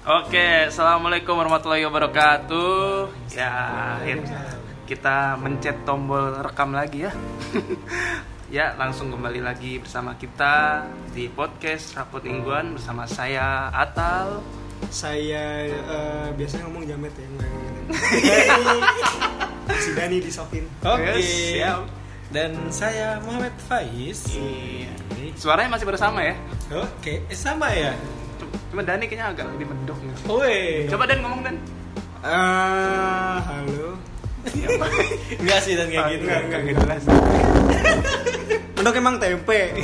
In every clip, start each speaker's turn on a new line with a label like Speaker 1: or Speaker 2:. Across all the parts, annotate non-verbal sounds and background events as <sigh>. Speaker 1: Oke, assalamualaikum warahmatullahi wabarakatuh. Ya, akhirnya kita mencet tombol rekam lagi ya. <laughs> ya, langsung kembali lagi bersama kita di podcast Rapot Mingguan bersama saya Atal.
Speaker 2: saya eh, biasanya ngomong jamet ya
Speaker 3: <laughs>
Speaker 2: nggak ngomongin. si Dani disokin
Speaker 3: Oke.
Speaker 1: Yes, siap.
Speaker 3: Dan saya Muhammad Faiz.
Speaker 1: Iya. Suaranya masih bersama ya.
Speaker 3: Oke, eh, sama ya.
Speaker 1: Cuma Dani kayaknya agak lebih mendok nih.
Speaker 3: Woi.
Speaker 1: Coba Dan ngomong Dan.
Speaker 2: Ah, halo
Speaker 3: Enggak sih dan kayak gitu.
Speaker 2: Enggak, enggak, enggak
Speaker 3: <laughs>
Speaker 2: jelas Mendok emang <laughs> tempe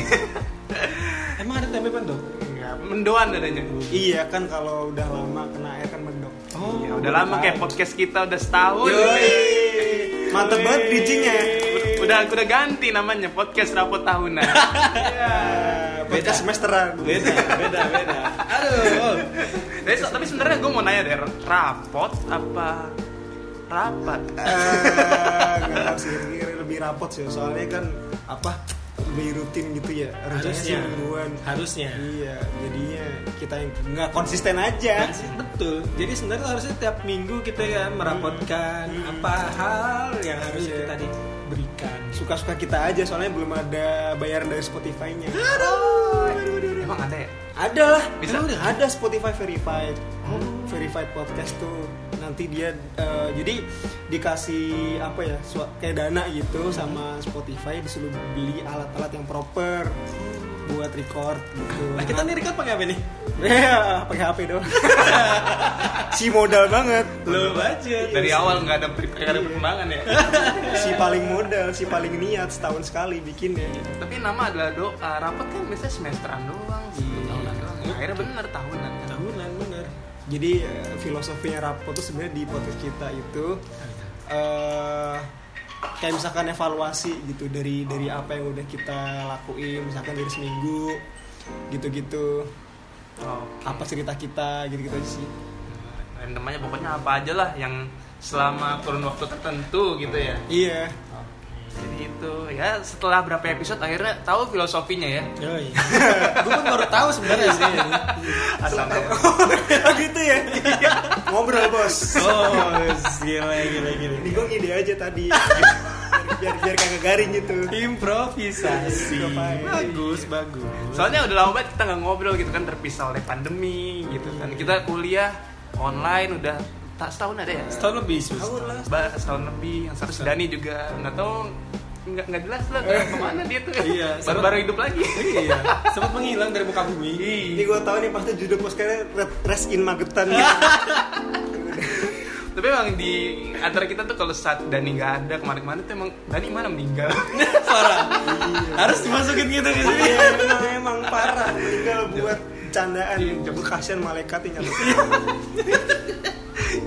Speaker 3: Emang ada tempe pendok?
Speaker 1: Enggak, mendoan dadanya.
Speaker 2: Iya kan kalau udah lama kena air kan mendok
Speaker 3: Oh,
Speaker 1: Ya, udah lama kayak podcast kita udah setahun.
Speaker 2: Yoi. Mantep banget bridgingnya ya.
Speaker 1: Udah udah ganti namanya podcast Rapot Tahunan.
Speaker 2: Eh, Podcast
Speaker 3: Beda.
Speaker 2: semesteran
Speaker 3: Beda, beda, beda. Aduh.
Speaker 1: Tapi, tapi sebenarnya gue mau nanya deh, rapot apa rapat?
Speaker 2: Eh, nggak tahu sih ini lebih rapot sih soalnya kan apa lebih rutin gitu ya rencananya sih
Speaker 3: Harusnya.
Speaker 2: mingguan
Speaker 3: Harusnya.
Speaker 2: iya jadinya kita yang nggak konsisten aja Hmm.
Speaker 3: Dan sih, betul. Jadi sebenarnya harusnya tiap minggu kita kan merapotkan apa hal yang harus
Speaker 2: Iya.
Speaker 3: kita diberikan.
Speaker 2: suka-suka kita aja soalnya belum ada bayaran dari Spotify-nya
Speaker 1: Emang ada ya?
Speaker 2: ada lah
Speaker 1: Bisa?
Speaker 2: Emang udah ada Spotify verified Hmm, verified podcast tuh nanti dia eh, jadi dikasih apa ya sua- kayak dana gitu sama Spotify disuruh beli alat-alat yang proper buat record gitu
Speaker 3: Nah, kita nih record pakai apa nih?
Speaker 2: ya pakai HP dong
Speaker 3: <laughs>
Speaker 2: si modal banget
Speaker 3: Belum aja.
Speaker 1: Dari awal nggak ada per- nggak ada perkembangan <laughs> ya.
Speaker 2: si paling modal si paling niat setahun sekali bikinnya
Speaker 1: Tapi nama adalah doa. Rapot kan biasanya semesteran doang, satu tahunan doang. Nah, Akhirnya bener tahunan. kan.
Speaker 3: tahunan bener.
Speaker 2: Jadi eh, filosofinya rapot tuh sebenarnya di podcast kita itu eh kayak misalkan evaluasi gitu dari dari apa yang udah kita lakuin misalkan dari seminggu gitu-gitu
Speaker 1: Oke.
Speaker 2: apa cerita kita gitu-gitu aja sih.
Speaker 1: Randomnya pokoknya apa aja lah yang selama kurun waktu tertentu gitu ya.
Speaker 2: Iya.
Speaker 1: Jadi itu ya setelah berapa episode akhirnya tahu filosofinya ya.
Speaker 2: <laughs>
Speaker 3: Yoi. Gue pun baru tahu sebenarnya sih.
Speaker 1: Asal
Speaker 2: Oh, gitu ya. Ngobrol bos.
Speaker 3: Oh, gila gila gila.
Speaker 2: Ini gue ngide aja tadi. <laughs> biar biar kagak garing gitu.
Speaker 3: Iya. Improvisasi.
Speaker 2: Ngapain?
Speaker 3: Bagus, bagus.
Speaker 1: Soalnya udah lama banget kita nggak ngobrol gitu kan terpisah oleh pandemi gitu kan. Kita kuliah online udah tak setahun ada ya.
Speaker 3: Setahun lebih sus.
Speaker 2: Tahun lah.
Speaker 1: Ba- setahun lebih yang satu si Dani juga nggak tahu nggak nggak jelas lah ke kemana dia tuh.
Speaker 3: Eh. Iya,
Speaker 1: <laughs> Baru baru hidup lagi.
Speaker 3: Iya. Sempat menghilang dari muka bumi.
Speaker 2: Ini gue tahu nih pasti judul podcastnya Red- Rest in
Speaker 3: <laughs>
Speaker 2: Magetan.
Speaker 3: Iya,
Speaker 1: Tapi emang di antara kita tuh kalau saat Dani nggak ada kemarin-kemarin tuh emang Dani mana meninggal.
Speaker 3: Parah. Harus dimasukin gitu ke sini.
Speaker 2: Iya, emang, emang parah meninggal buat candaan
Speaker 3: Iya.
Speaker 2: Coba kasihan malaikat yang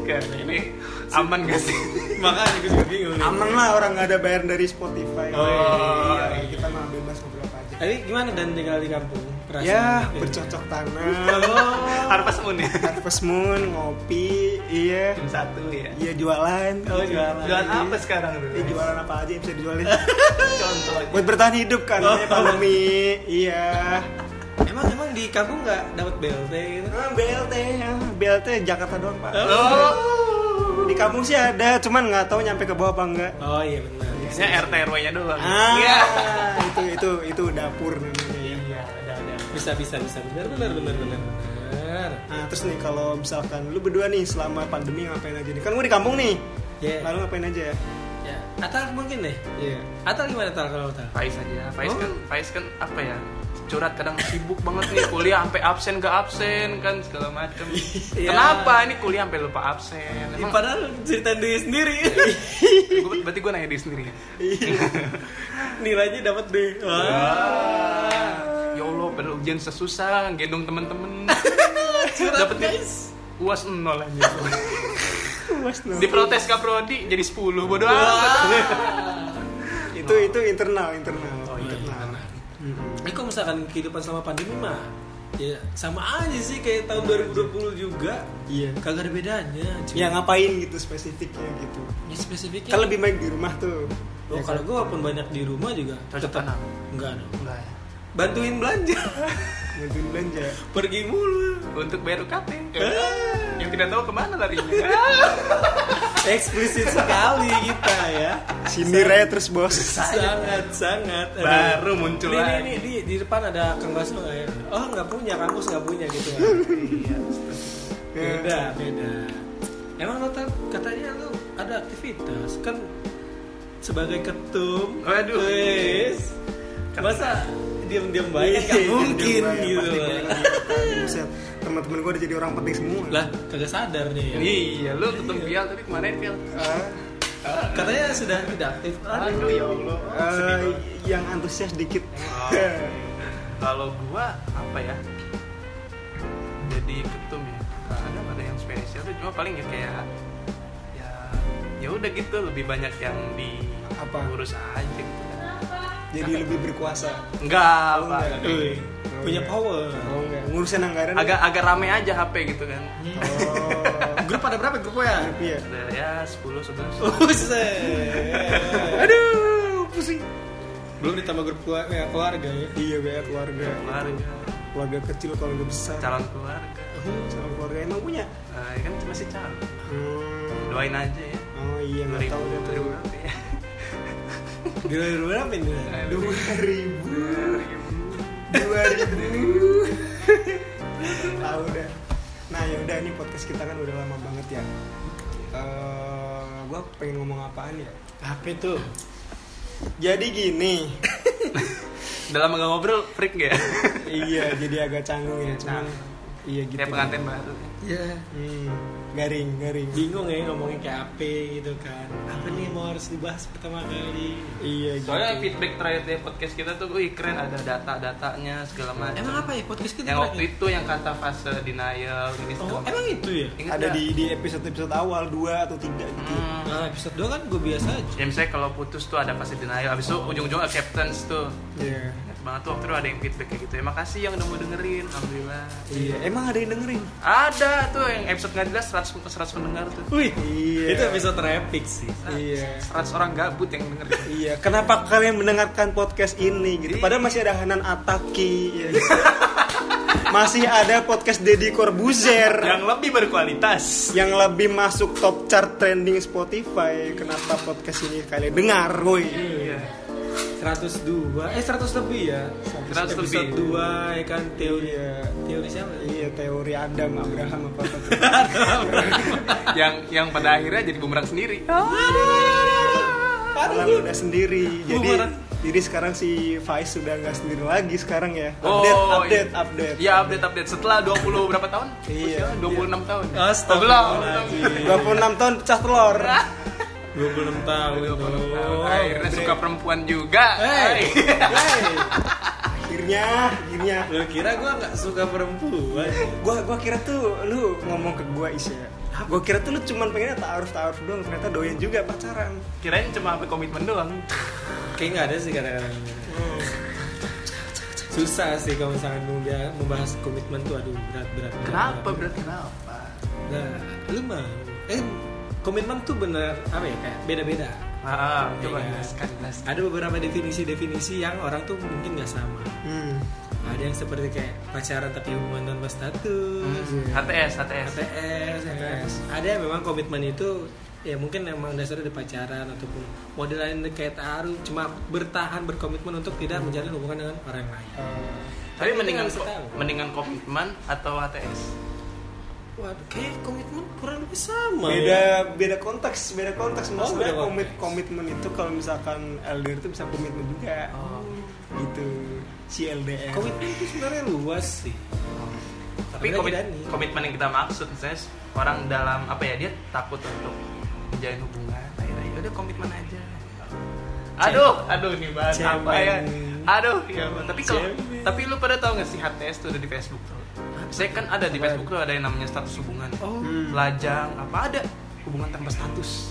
Speaker 1: Kan
Speaker 3: Iya,
Speaker 1: ini <laughs> aman gak sih?
Speaker 3: Makanya gue juga bingung. nih.
Speaker 2: aman lah orang nggak ada bayar dari Spotify
Speaker 3: Oh,
Speaker 2: Iya,
Speaker 3: iya.
Speaker 2: kita mah bebas beberapa aja
Speaker 3: Tapi gimana dan tinggal di kampung? Kerasa?
Speaker 2: ya
Speaker 3: Iya.
Speaker 2: bercocok tanam
Speaker 3: Oh.
Speaker 1: Harvest Moon ya.
Speaker 2: harvest moon ngopi iya
Speaker 1: Jam satu ya.
Speaker 2: iya jualan
Speaker 3: Oh, jualan.
Speaker 1: Jualan apa sekarang tuh?
Speaker 2: Iya, jualan apa aja yang bisa dijualin
Speaker 1: Contohnya.
Speaker 2: buat bertahan hidup kan
Speaker 3: Oh.
Speaker 2: ini pandemi iya
Speaker 3: Emang emang di kampung nggak dapat BLT gitu?
Speaker 2: Ah, BLT ya. BLT Jakarta doang pak
Speaker 1: Oh.
Speaker 2: di kampung sih ada cuman nggak tahu nyampe ke bawah apa enggak
Speaker 3: Oh iya benar.
Speaker 1: Biasanya RT RW-nya doang.
Speaker 2: Ah,
Speaker 1: Iya.
Speaker 2: itu itu itu dapur namanya.
Speaker 1: Iya, ada ada.
Speaker 3: Bisa bisa bisa benar benar benar benar. benar.
Speaker 2: Nah, terus nih kalau misalkan lu berdua nih selama pandemi ngapain aja nih? Kan gue di kampung nih.
Speaker 3: Iya.
Speaker 2: Lalu ngapain aja
Speaker 3: <laughs>
Speaker 2: ya?
Speaker 3: Ya. Atal mungkin deh.
Speaker 2: Iya.
Speaker 3: Atal gimana Atal kalau Atal?
Speaker 1: Faiz aja. Faiz
Speaker 3: Oh.
Speaker 1: kan Faiz kan apa ya? Curhat kadang sibuk banget nih kuliah sampai absen gak absen kan segala macem.
Speaker 3: <laughs> Iya.
Speaker 1: Kenapa ini kuliah sampai lupa absen?
Speaker 3: Ya,
Speaker 1: Emang
Speaker 3: padahal cerita diri <laughs> sendiri.
Speaker 1: gua, berarti gue nanya diri sendiri ya.
Speaker 3: Nilainya dapat B. Iya. Wah.
Speaker 1: Ya Allah, padahal ujian sesusah, gendong temen-temen.
Speaker 3: <laughs> Curhat,
Speaker 1: Dapet guys. Uas nol aja. Diprotes ke prodi jadi 10 bodoh
Speaker 3: <laughs>
Speaker 1: amat.
Speaker 2: Itu itu internal, internal.
Speaker 1: Oh, iya, internal.
Speaker 2: Mm-mm.
Speaker 3: Ini kok misalkan kehidupan selama pandemi mah ya sama aja sih kayak tahun 2020 juga.
Speaker 2: Iya.
Speaker 3: Kagak ada bedanya. cuy.
Speaker 2: Ya ngapain gitu spesifiknya gitu.
Speaker 3: Ya, spesifiknya.
Speaker 2: Kan lebih baik di rumah tuh.
Speaker 3: Oh,
Speaker 2: Ya
Speaker 3: kalau
Speaker 2: kan?
Speaker 3: gue walaupun banyak di rumah juga
Speaker 1: Cocok tanam.
Speaker 3: enggak dong.
Speaker 1: Enggak ya.
Speaker 3: bantuin belanja
Speaker 2: bantuin belanja
Speaker 3: <laughs> pergi mulu
Speaker 1: untuk bayar UKT
Speaker 3: Eh.
Speaker 1: yang tidak tahu kemana
Speaker 3: <laughs>
Speaker 1: larinya
Speaker 3: eksplisit sekali kita ya
Speaker 2: sindir aja terus bos
Speaker 3: sangat sangat Aduh.
Speaker 1: Baru muncul
Speaker 3: Nih,
Speaker 1: lagi.
Speaker 3: nih, nih, di, di depan ada kang Basno nggak ya oh nggak punya kampus nggak punya gitu kan Iya, beda beda emang lo tau katanya lo ada aktivitas kan sebagai ketum
Speaker 1: Waduh.
Speaker 3: wes masa diam-diam baik
Speaker 2: Iya,
Speaker 3: nggak mungkin
Speaker 2: iya,
Speaker 3: gitu
Speaker 2: pasti
Speaker 3: loh.
Speaker 2: banyak yang- Buset, teman-teman gue udah jadi orang penting semua
Speaker 3: lah kagak sadar nih ya
Speaker 1: iya lu ketemu Pial tapi kemarin Pial
Speaker 2: Ah,
Speaker 3: katanya sudah tidak aktif Aduh.
Speaker 1: aduh ya Allah
Speaker 2: eh, yang antusias dikit
Speaker 1: kalau gua apa ya jadi ketum ya nggak ada nggak ada yang spesial tuh cuma paling ya kayak ya ya udah gitu lebih banyak yang di
Speaker 2: Apa?
Speaker 1: urus aja gitu kan
Speaker 2: <laughs> jadi lebih berkuasa
Speaker 1: enggak apa
Speaker 2: Oh, enggak.
Speaker 3: Eh, punya power
Speaker 2: oh enggak ngurusin anggaran
Speaker 1: agak agak rame aja HP gitu kan
Speaker 2: oh
Speaker 3: <laughs> grup ada berapa grupnya
Speaker 2: iya
Speaker 1: ada ya 10 11
Speaker 3: <laughs> Buset.
Speaker 2: Oh, aduh pusing
Speaker 3: <laughs> Belum ditambah grup keluarga, ya, keluarga ya.
Speaker 2: iya kayak keluarga
Speaker 1: keluarga
Speaker 2: keluarga kecil keluarga besar
Speaker 1: calon keluarga
Speaker 2: calon keluarga emang punya
Speaker 1: Eh, kan masih calon
Speaker 2: Hmm.
Speaker 1: doain aja ya
Speaker 2: oh iya nggak tahu deh
Speaker 1: 2000
Speaker 2: terima
Speaker 1: berapa ya
Speaker 3: Di luar berapa ini?
Speaker 2: dua ribu dua ribu tahu dah nah yaudah ini podcast kita kan udah lama banget ya Eh, gua pengen ngomong apaan ya
Speaker 3: HP tuh.
Speaker 2: jadi gini
Speaker 1: udah lama gak ngobrol freak gak ya
Speaker 2: iya jadi agak canggung ya cuman iya gitu
Speaker 1: Nah. kayak pengantin baru
Speaker 3: Ya,
Speaker 2: Hmm, garing garing
Speaker 3: bingung ya ngomongin kayak HP gitu kan. Apa nih yang mau harus dibahas pertama kali?
Speaker 2: iya gitu
Speaker 1: soalnya feedback terakhir dari podcast kita tuh wih keren ada data-datanya segala macam
Speaker 3: Emang apa ya podcast kita?
Speaker 1: yang waktu
Speaker 3: terakhir?
Speaker 1: itu yang kata fase denial ini segala
Speaker 3: Oh,
Speaker 1: macam
Speaker 3: emang itu ya?
Speaker 1: Ingat
Speaker 2: ada
Speaker 1: nggak?
Speaker 2: di di episode episode awal dua atau tiga gitu
Speaker 1: Hmm.
Speaker 3: Nah, episode 2 kan gue biasa aja.
Speaker 1: ya misalnya kalau putus tuh ada fase denial abis itu ujung-ujung acceptance tuh
Speaker 2: Iya.
Speaker 1: Ingat banget tuh waktu itu ada yang feedback kayak gitu ya makasih yang udah mau dengerin alhamdulillah
Speaker 2: Iya, emang ada yang dengerin?
Speaker 1: ada tuh yang episode nggak jelas 100 100 pendengar tuh
Speaker 3: Wih,
Speaker 2: Iya.
Speaker 3: itu episode terepik sih.
Speaker 2: Iya.
Speaker 1: 100 orang gabut yang denger
Speaker 2: Iya, kenapa kalian mendengarkan podcast ini gitu? Padahal masih ada Hanan Ataki.
Speaker 1: <laughs>
Speaker 2: ya. masih ada podcast Deddy Corbuzier
Speaker 1: yang lebih berkualitas
Speaker 2: yang lebih masuk top chart trending Spotify. Kenapa podcast ini kalian dengar, woi?
Speaker 1: iya
Speaker 3: 102, eh 100 lebih ya.
Speaker 1: 100
Speaker 3: episode
Speaker 1: lebih.
Speaker 3: 2 ya kan teori
Speaker 2: Iya.
Speaker 3: teori siapa? ya?
Speaker 2: Iya, teori Adam Abraham apa apa.
Speaker 1: yang yang pada akhirnya jadi bumerang sendiri
Speaker 3: Oh,
Speaker 2: Alam udah sendiri. Jadi
Speaker 1: Bumerang.
Speaker 2: jadi sekarang si Faiz sudah nggak sendiri lagi sekarang ya.
Speaker 1: Oh,
Speaker 2: Update,
Speaker 1: iya.
Speaker 2: update, update.
Speaker 1: Iya update update setelah 20 berapa tahun?
Speaker 2: Iya.
Speaker 1: Usia 26 tahun. Oh,
Speaker 3: Astagfirullahaladzim.
Speaker 2: 26 tahun pecah telur.
Speaker 1: <laughs>
Speaker 3: 26 tahun.
Speaker 1: 26 tahun.
Speaker 3: Oh,
Speaker 1: Akhirnya suka perempuan juga.
Speaker 3: Hey, hey.
Speaker 1: <laughs>
Speaker 2: Akhirnya, akhirnya
Speaker 3: Lu kira gue gak suka perempuan?
Speaker 2: gua gua kira tuh lu ngomong ke gua Isya gua kira tuh lu cuman pengennya taaruf taaruf doang ternyata doyan juga pacaran
Speaker 1: Kirain cuma sampai komitmen doang.
Speaker 3: Kayak gak ada sih kadang-kadang Susah sih kalau misalkan membia- membahas komitmen tuh aduh berat-berat
Speaker 1: Kenapa berat kenapa?
Speaker 3: Nah, lu mau Eh, komitmen tuh bener apa ya kayak beda-beda
Speaker 1: Ah, coba
Speaker 3: Iya.
Speaker 1: jelaskan jelaskan.
Speaker 3: Ada beberapa definisi-definisi yang orang tuh mungkin gak sama
Speaker 2: hmm.
Speaker 3: Ada yang seperti kayak pacaran tapi hubungan tanpa status
Speaker 1: HTS, HTS.
Speaker 3: ATS, ATS. Ada yang memang komitmen itu ya mungkin emang dasarnya di pacaran ataupun model lain kayak taruh cuma bertahan berkomitmen untuk tidak menjalin hubungan dengan orang lain.
Speaker 1: Tapi
Speaker 3: Tapi
Speaker 1: mendingan
Speaker 3: nggak bisa tahu.
Speaker 1: mendingan komitmen atau HTS?
Speaker 3: Waduh, kayak komitmen kurang lebih sama.
Speaker 2: beda
Speaker 3: ya.
Speaker 2: beda konteks beda konteks
Speaker 3: Oh,
Speaker 2: maksudnya
Speaker 3: beda konteks.
Speaker 2: komit komitmen itu kalau misalkan LDR itu bisa komitmen juga
Speaker 1: Oh.
Speaker 2: gitu si LDR
Speaker 3: Komitmen itu sebenarnya luas sih.
Speaker 1: Tapi
Speaker 3: Sebenarnya
Speaker 1: komit-
Speaker 3: tidak nih.
Speaker 1: komitmen yang kita maksud misalnya orang dalam apa ya dia takut untuk menjalin hubungan akhirnya ya udah komitmen aja aduh aduh nih bahan apa ya
Speaker 3: Cemen.
Speaker 1: aduh ya Allah. tapi kalau
Speaker 3: Cemen.
Speaker 1: tapi lu pada tahu nggak sih HTS tuh ada di Facebook tuh saya kan ada di
Speaker 3: Apaan?
Speaker 1: Facebook tuh ada yang namanya status hubungan
Speaker 3: Oh.
Speaker 1: lajang apa ada hubungan tanpa status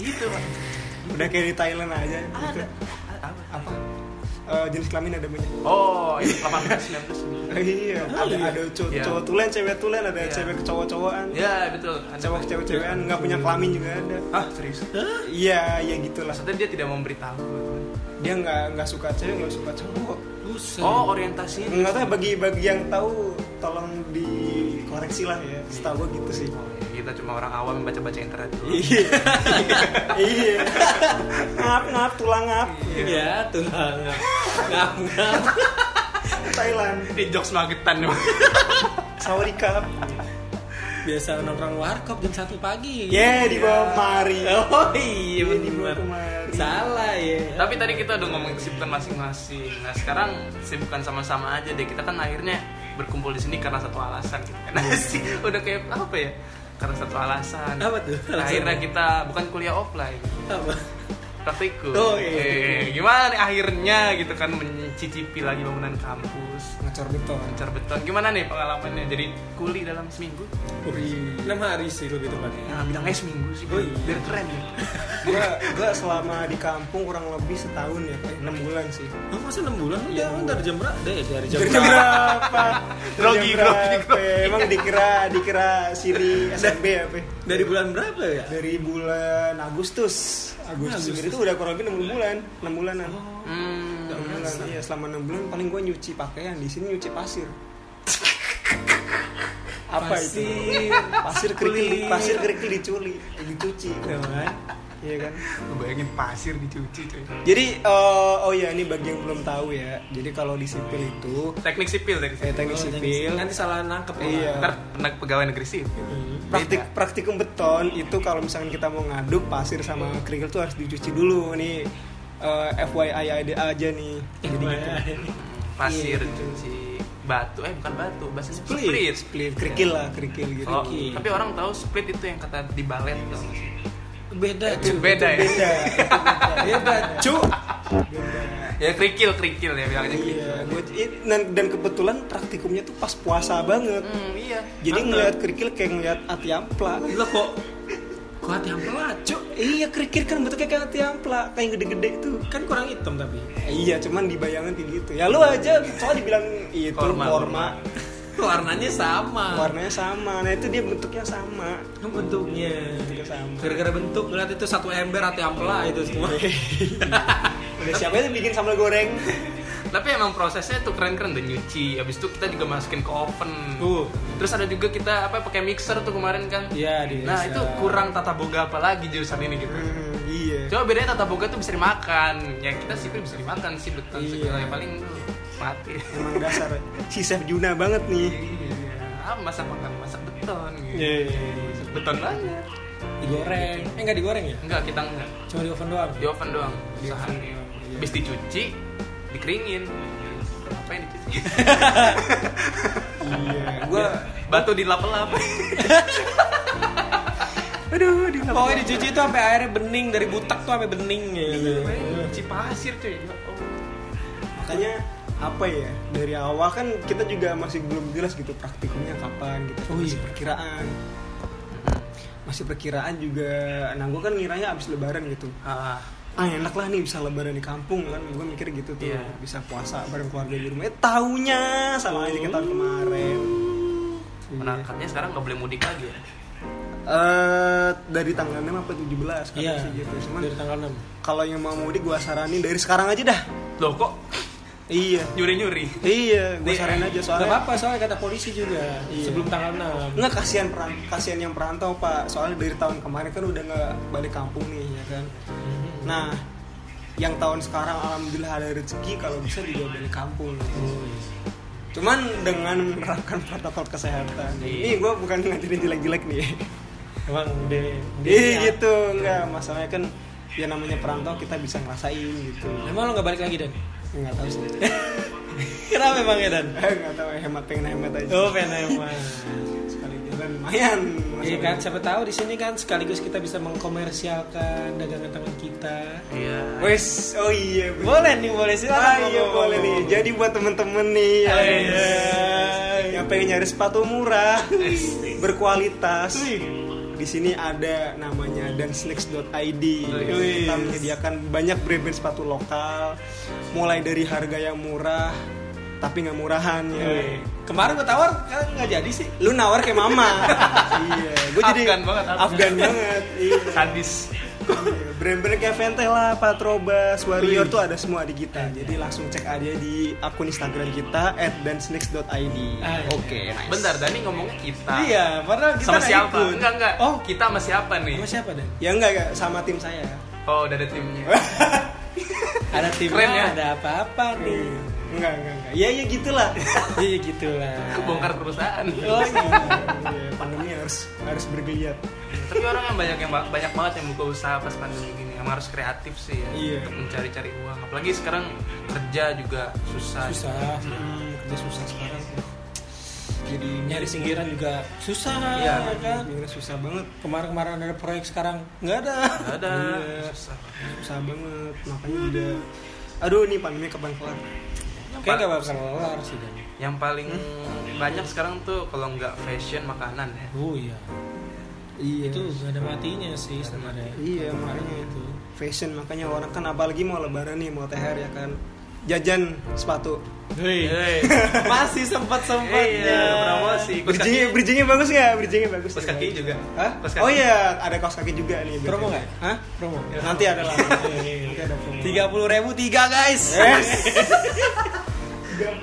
Speaker 1: gitu Pak.
Speaker 3: Ah,
Speaker 2: udah kayak di Thailand aja gitu.
Speaker 1: ada A- apa
Speaker 2: apa eh, jenis kelamin ada banyak.
Speaker 1: Oh, ini 18 19.
Speaker 2: <laughs> iya,
Speaker 3: Oh,
Speaker 2: ada
Speaker 3: iya.
Speaker 2: ada cowok
Speaker 1: Iya.
Speaker 2: cowok tulen, cewek tulen, ada
Speaker 1: Iya.
Speaker 2: cewek cowok cowokan,
Speaker 1: Ya, betul. Ada
Speaker 2: cowok
Speaker 1: banyak.
Speaker 2: cewek cewekan nggak punya kelamin juga ada.
Speaker 1: Hah, serius?
Speaker 3: Hah?
Speaker 2: Iya, ya gitulah.
Speaker 1: Maksudnya dia tidak memberitahu.
Speaker 2: Dia nggak nggak suka cewek, nggak suka cowok.
Speaker 3: Buset.
Speaker 1: Oh, orientasinya
Speaker 2: Nggak tahu ya, bagi bagi yang tahu tolong dikoreksi lah ya. Setahu gua gitu sih.
Speaker 1: kita cuma orang awam yang baca-baca internet dulu.
Speaker 2: Iya. Iya. Ngap ngap tulang ngap.
Speaker 3: Iya, tuh ngap ngap ngap.
Speaker 2: Thailand.
Speaker 1: Ini jokes magetan nih.
Speaker 2: Sauri cup.
Speaker 3: Biasa nongkrong warkop jam 1 pagi.
Speaker 2: Yeah, di bawah mari.
Speaker 3: Iya. Oh iya
Speaker 2: Iya, di bawah
Speaker 3: benar.
Speaker 2: kemari.
Speaker 3: Salah ya.
Speaker 1: Tapi tadi kita udah ngomongin kesibukan masing-masing. Nah sekarang kesibukan sama-sama aja deh. Kita kan akhirnya berkumpul di sini karena satu alasan. gitu kan. <laughs> sih udah kayak apa ya? Karena satu alasan.
Speaker 3: Iya. Apa tuh?
Speaker 1: Nah, akhirnya kita bukan kuliah offline,
Speaker 3: Apa?
Speaker 1: praktikum.
Speaker 3: Oh, iya.
Speaker 1: Eh, gimana nih akhirnya gitu kan mencicipi lagi bangunan kampus,
Speaker 2: Ngacor gitu.
Speaker 1: mencor beton. Gimana nih pengalamannya? Jadi kuli dalam seminggu?
Speaker 3: Enam hari sih lebih tepatnya.
Speaker 1: Nah, bilangnya seminggu sih,
Speaker 3: Oh, iya.
Speaker 1: biar keren
Speaker 3: <laughs>
Speaker 1: ya.
Speaker 2: Gua gua selama di kampung kurang lebih setahun ya, eh, enam bulan sih.
Speaker 3: Oh, masa 6 bulan? Udah, dari jam berapa? Deh, dari jam
Speaker 2: Dari jam
Speaker 3: berapa?
Speaker 2: berapa?
Speaker 1: Grogi,
Speaker 2: Dari jam
Speaker 1: grogi,
Speaker 2: berapa? Emang dikira dikira siri SMB ya, Pe?
Speaker 3: <laughs> Dari bulan berapa ya?
Speaker 2: Dari bulan Agustus. Agustus,
Speaker 3: Agustus.
Speaker 2: sendiri itu udah kurang lebih enam bulan, enam bulanan.
Speaker 1: Hmm,
Speaker 2: Enam bulan, iya selama enam bulan paling gue nyuci pakaian di sini nyuci <laughs> pasir. Apa itu?
Speaker 3: Pasir.
Speaker 2: Pasir kerikil,
Speaker 3: Kulit.
Speaker 2: pasir kerikil diculi, eh, dicuci,
Speaker 3: Teman.
Speaker 2: iya kan?
Speaker 1: bayangin pasir dicuci cuy.
Speaker 2: Jadi eh, oh ya ini bagi yang belum tahu ya. Jadi kalau di sipil itu
Speaker 1: Teknik sipil, teknik sipil.
Speaker 2: eh, teknik sipil
Speaker 3: Nanti salah nangkep. Hmm.
Speaker 2: Iya.
Speaker 1: Ntar pernah pegawai negeri sipil.
Speaker 2: praktik praktikum beton itu kalau misalkan kita mau ngaduk pasir sama kerikil tuh harus dicuci dulu nih eh, FYI ada aja nih. Jadi gitu.
Speaker 1: pasir
Speaker 2: Iya, gitu.
Speaker 1: cuci batu eh bukan batu bahasanya split,
Speaker 2: Split, split, kerikil lah, kerikil gitu.
Speaker 1: Oh,
Speaker 3: Kerikil.
Speaker 1: tapi orang tahu split itu yang kata di balet
Speaker 3: Iya.
Speaker 1: tau nggak sih?
Speaker 3: Beda
Speaker 1: itu
Speaker 3: cuy.
Speaker 1: beda ya
Speaker 2: Beda.
Speaker 3: Beda cuy.
Speaker 2: Beda.
Speaker 1: ya kerikil kerikil ya bilangnya kerikil
Speaker 2: Iya, gua- i- dan, dan kebetulan praktikumnya tuh pas puasa banget.
Speaker 1: hmm, iya
Speaker 2: Jadi ngelihat kerikil kayak ngelihat ati ampla.
Speaker 3: Lo kok kok hati pelat cuy.
Speaker 2: Cuk, iya kerikil kan bentuknya kayak ati ampla, kayak gede-gede tuh.
Speaker 3: Kan kurang hitam tapi.
Speaker 2: Eh, Iya, cuman dibayangin kayak gitu. Ya lu aja soalnya dibilang itu
Speaker 1: Korma,
Speaker 2: korma,
Speaker 3: Warnanya sama. Kan
Speaker 2: warnanya sama. Nah, itu dia bentuknya sama.
Speaker 3: bentuknya
Speaker 2: Bentuknya sama.
Speaker 3: gara-gara bentuk ngeliat itu satu ember hati ampela itu <laughs> semua
Speaker 2: Udah siapa itu bikin sambal goreng?
Speaker 1: tapi emang prosesnya tuh keren keren dan nyuci habis itu kita juga masukin ke oven
Speaker 3: Uh.
Speaker 1: terus ada juga kita apa pakai mixer tuh kemarin kan
Speaker 3: Iya, di
Speaker 1: nah
Speaker 3: mixer.
Speaker 1: itu kurang tata boga apa lagi jurusan ini gitu
Speaker 2: Hmm, iya.
Speaker 1: Coba bedanya tata boga tuh bisa dimakan. Ya kita sipil bisa dimakan sih beton
Speaker 2: Iya.
Speaker 1: segala yang paling lu mati.
Speaker 2: Emang dasar si Chef Juna banget nih.
Speaker 1: Iya. Ah, masak makan masak beton gitu.
Speaker 2: Iya, iya,
Speaker 1: Masak beton banget.
Speaker 3: digoreng eh nggak digoreng ya Iya,
Speaker 1: Enggak, kita enggak.
Speaker 3: cuma di oven doang
Speaker 1: Di oven doang.
Speaker 2: Iya.
Speaker 1: Usahanya. Habis dicuci, dikeringin. Apa yang dicuci?
Speaker 2: <laughs> Iya, gua
Speaker 1: Batu dilap-lap.
Speaker 2: aduh di
Speaker 3: pokoknya dicuci itu sampai airnya bening dari butak tuh sampai bening ya
Speaker 2: Iya.
Speaker 1: Cuci pasir cuy. Ya Allah.
Speaker 2: makanya apa ya dari awal kan kita juga masih belum jelas gitu praktikumnya kapan gitu
Speaker 3: Oh,
Speaker 2: masih
Speaker 3: iya.
Speaker 2: perkiraan masih perkiraan juga nah gue kan ngiranya abis lebaran gitu
Speaker 1: Ah,
Speaker 2: ah enak lah nih bisa lebaran di kampung kan gue mikir gitu tuh
Speaker 1: Iya.
Speaker 2: bisa puasa bareng keluarga di rumah eh taunya sama aja kayak tahun kemarin Iya.
Speaker 1: menangkapnya sekarang nggak boleh mudik lagi ya.
Speaker 2: Eh, dari tanggal 6 apa 17 kan
Speaker 3: iya
Speaker 2: sih gitu cuman
Speaker 3: dari tanggal 6
Speaker 2: kalau yang mau mudik gue saranin dari sekarang aja dah
Speaker 1: Loh kok
Speaker 2: iya
Speaker 1: nyuri-nyuri?
Speaker 2: iya gue
Speaker 1: Nih,
Speaker 2: saranin aja
Speaker 3: Gak
Speaker 2: soalnya
Speaker 3: apa-apa soalnya kata polisi juga
Speaker 2: Iya.
Speaker 3: sebelum tanggal 6
Speaker 2: Nggak kasihan peran, kasihan yang perantau pak. Soalnya dari tahun kemarin kan udah nggak balik kampung nih ya kan. Nah, yang tahun sekarang alhamdulillah ada rezeki kalau bisa juga balik kampung. Cuman dengan menerapkan protokol kesehatan.
Speaker 1: Iya.
Speaker 2: Ini gue bukan ngajarin jelek-jelek nih.
Speaker 3: emang deh
Speaker 2: Iya gitu, nggak masalahnya kan ya namanya perantau kita bisa ngerasain gitu.
Speaker 3: emang lo nggak balik lagi dan
Speaker 2: Nggak tahu sih. <laughs>
Speaker 3: kenapa emang ya dan
Speaker 2: Nggak tahu hemat pengen hemat aja.
Speaker 3: oh emang
Speaker 2: Sekali jalan lumayan.
Speaker 3: Iya
Speaker 2: masalahnya.
Speaker 3: kan, siapa tahu di sini kan sekaligus kita bisa mengkomersialkan dagangan teman kita.
Speaker 1: Iya.
Speaker 2: Wes, oh iya. bener.
Speaker 3: Boleh nih, boleh
Speaker 2: Ah,
Speaker 3: silakan.
Speaker 2: iya boleh nih. Jadi buat temen-temen nih yang,
Speaker 3: Iya.
Speaker 2: yang pengen nyari sepatu murah, berkualitas, di di sini ada namanya dansnext.id.
Speaker 1: Wih.
Speaker 2: Kita menyediakan banyak brand-brand sepatu lokal, mulai dari harga yang murah tapi nggak murahan ya.
Speaker 3: Kemarin gue tawar kan nggak jadi sih.
Speaker 2: Lu nawar kayak mama. iya, gue jadi
Speaker 1: Afgan banget, Afgan.
Speaker 2: Afgan banget. Iya.
Speaker 1: sadis
Speaker 2: Iya, Brand-brand kayak Vente lah, Patrobas, Warrior tuh ada semua di kita. Jadi langsung cek aja di akun Instagram kita @dansnext.id.
Speaker 3: Ah, iya.
Speaker 2: Oke, nice.
Speaker 1: bentar Dani ngomongnya kita
Speaker 3: Iya, padahal kita
Speaker 1: sama
Speaker 3: nggak
Speaker 1: siapa
Speaker 3: ikut.
Speaker 1: enggak enggak
Speaker 3: Oh,
Speaker 1: oh kita sama siapa nih
Speaker 3: sama siapa deh?
Speaker 2: Ya enggak, enggak, sama tim saya.
Speaker 3: Iya.
Speaker 1: oh udah ada
Speaker 3: <laughs>
Speaker 1: timnya
Speaker 3: Ada timnya,
Speaker 1: Keren ya?
Speaker 3: ada apa-apa nih.
Speaker 2: Enggak, enggak, enggak. Ya ya gitulah.
Speaker 3: Iya gitulah.
Speaker 1: kebongkar perusahaan
Speaker 3: <laughs> Oh iya.
Speaker 2: Iya, Pandemi harus harus bergeliat.
Speaker 1: tapi orang kan banyak yang banyak banget yang buka usaha pas pandemi gini emang harus kreatif sih ya
Speaker 2: Iya.
Speaker 1: untuk mencari-cari uang apalagi sekarang kerja juga susah
Speaker 3: Susah, hmm, kerja susah sekarang. Jadi nyari singkiran juga susah
Speaker 1: Iya.
Speaker 3: ya kan.
Speaker 2: Bener susah banget,
Speaker 3: Kemarin-kemarin ada proyek sekarang nggak ada.
Speaker 1: Nggak ada
Speaker 2: Iya.
Speaker 1: susah
Speaker 2: susah banget. Makanya udah Aduh, ini pandemi kapan kelar?
Speaker 3: Kayak nggak bakal kelar sih dan.
Speaker 1: yang paling
Speaker 3: Hmm?
Speaker 1: banyak sekarang tuh kalau nggak fashion makanan ya
Speaker 3: Oh iya.
Speaker 2: Iya.
Speaker 3: Itu nggak ada matinya sih sebenarnya.
Speaker 2: Iya makanya itu fashion makanya orang kan apalagi mau lebaran nih mau THR ya kan jajan sepatu
Speaker 3: Hei. <laughs> Masih sempat
Speaker 1: Iya,
Speaker 3: sempatnya.
Speaker 1: promosi. kan? Kaos
Speaker 2: bridgingnya
Speaker 1: kaki.
Speaker 2: bridgingnya bagus nggak bridgingnya bagus
Speaker 1: Kaos
Speaker 2: nih,
Speaker 1: kaki
Speaker 2: bagus.
Speaker 1: juga.
Speaker 2: Hah?
Speaker 1: Kaos kaki. Ya.
Speaker 2: oh iya ada kaos kaki juga nih
Speaker 3: Promo
Speaker 2: BTW.
Speaker 3: nggak?
Speaker 2: Hah?
Speaker 3: Promo.
Speaker 2: nanti ada
Speaker 1: <laughs>
Speaker 2: lah nanti ada promo
Speaker 3: Iya. Tiga puluh ribu tiga guys.
Speaker 2: yes Tiga-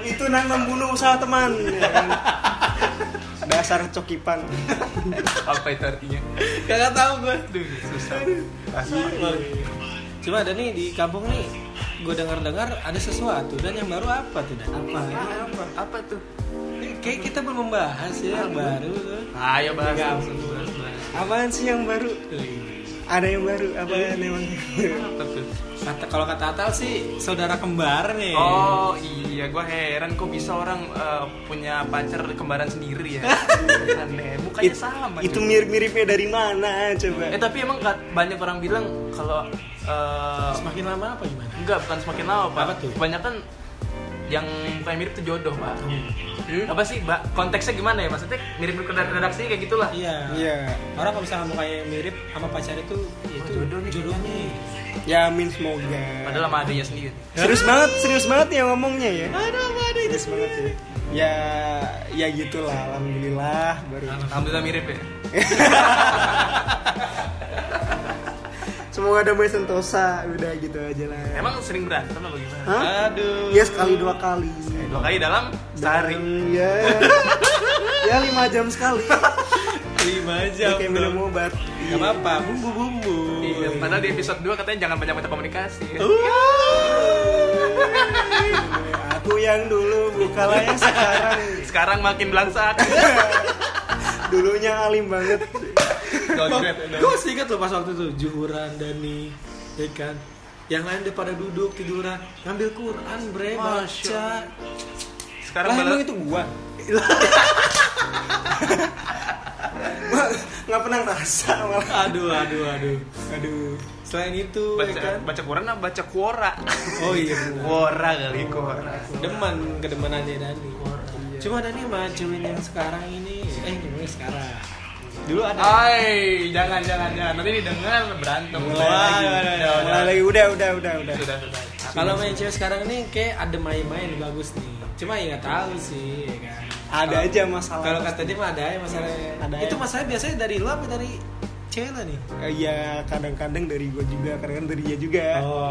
Speaker 2: itu nang membunuh usaha teman ya kan? dasar cokipan
Speaker 1: apa itu artinya
Speaker 3: Kagak tahu gue.
Speaker 1: Aduh, susah
Speaker 3: Iya. Cuma ada nih di kampung nih, gue dengar-dengar ada sesuatu dan yang baru apa tuh dan?
Speaker 2: apa
Speaker 1: Iya.
Speaker 2: apa
Speaker 1: apa tuh
Speaker 3: Kayak kita belum membahas ya yang baru tuh.
Speaker 1: ayo bahas
Speaker 3: Nggak.
Speaker 1: langsung bahas, bahas.
Speaker 2: apaan sih yang baru ada yang baru
Speaker 1: Iya.
Speaker 2: apaan emang
Speaker 1: Apa tuh?
Speaker 3: Kata kalau kata Atal sih saudara kembar nih.
Speaker 1: Oh iya, gue heran kok bisa orang eh, punya pacar kembaran
Speaker 2: <laughs>
Speaker 1: sendiri ya. Aneh, mukanya
Speaker 2: It-
Speaker 1: sama.
Speaker 2: itu
Speaker 1: cuy.
Speaker 2: mirip-miripnya dari mana coba
Speaker 1: Eh tapi emang kat- banyak orang bilang kalau eh,
Speaker 3: Semakin lama apa gimana?
Speaker 1: enggak bukan semakin lama pak.
Speaker 3: Apa tuh?
Speaker 1: Kebanyakan yang mukanya mirip itu jodoh pak.
Speaker 2: Hmm?
Speaker 1: Apa sih, Mbak? Konteksnya gimana ya? Maksudnya mirip-mirip ke redaksi kayak gitulah.
Speaker 3: Iya.
Speaker 2: Iya.
Speaker 3: Orang kalau misalnya mukanya mirip sama pacar itu, ya itu
Speaker 1: jodoh nih.
Speaker 3: Jodoh nih.
Speaker 2: Ya amin semoga.
Speaker 1: Padahal sama adanya sendiri.
Speaker 2: serius banget, serius banget ya ngomongnya ya.
Speaker 3: Aduh, ada itu
Speaker 2: Serius banget ya. Ya ya gitulah alhamdulillah baru.
Speaker 1: Alhamdulillah mirip ya.
Speaker 2: Semoga damai sentosa udah gitu aja lah.
Speaker 1: Emang sering berantem apa gimana?
Speaker 2: Hah?
Speaker 3: Aduh.
Speaker 2: Ya sekali dua kali.
Speaker 1: Dua kali dalam sehari.
Speaker 2: Dan,
Speaker 3: <laughs>
Speaker 2: Ya. ya lima jam sekali.
Speaker 3: Lima
Speaker 2: Ya,
Speaker 3: jam.
Speaker 2: kayak
Speaker 3: dong.
Speaker 2: minum obat. Iya,
Speaker 3: Gak apa-apa, bumbu-bumbu.
Speaker 1: Iya, padahal di episode 2 katanya jangan banyak-banyak komunikasi.
Speaker 2: <laughs> Aku yang dulu bukalah yang sekarang.
Speaker 1: Sekarang makin belangsak.
Speaker 2: Dulunya alim banget.
Speaker 1: Jodret.
Speaker 3: Gue masih ingat loh pas waktu itu Juhuran, Dani, ya kan Yang lain udah pada duduk tiduran Ngambil Quran bre,
Speaker 1: Masya
Speaker 3: baca
Speaker 1: Sekarang
Speaker 2: lah
Speaker 1: bala-
Speaker 2: emang itu gua. Gua nggak pernah ngerasa malah.
Speaker 3: Aduh, aduh, aduh
Speaker 2: Aduh.
Speaker 3: Selain itu, ya
Speaker 1: baca
Speaker 3: kan
Speaker 1: baca koran apa baca kuora?
Speaker 3: Oh iya, bener.
Speaker 1: Kuora kali kuora.
Speaker 3: demen, kedemenannya Dani
Speaker 2: Iya.
Speaker 3: Cuma Dani sama cewek yang sekarang ini Eh, ngomongnya sekarang Dulu ada
Speaker 2: Ah,
Speaker 1: Hai, jangan jangan jangan. Nanti didengar berantem.
Speaker 2: Mulai
Speaker 1: Wah, udah,
Speaker 2: lagi.
Speaker 1: udah,
Speaker 2: Mulai lagi. Udah, udah, udah, udah.
Speaker 1: udah. Sudah sudah.
Speaker 3: Kalau main cewek sekarang ini kayak ada main-main bagus nih Cuma ya nggak tahu sih, ya kan
Speaker 2: Ada
Speaker 3: Kalau-
Speaker 2: aja masalah.
Speaker 3: Kalau kata dia mah ada ya masalahnya.
Speaker 2: Ada ya.
Speaker 3: Itu masalahnya biasanya dari lu apa dari cewek lu nih?
Speaker 2: Eh, ya kadang-kadang dari gua juga, kadang-kadang dari dia juga.
Speaker 3: Oh.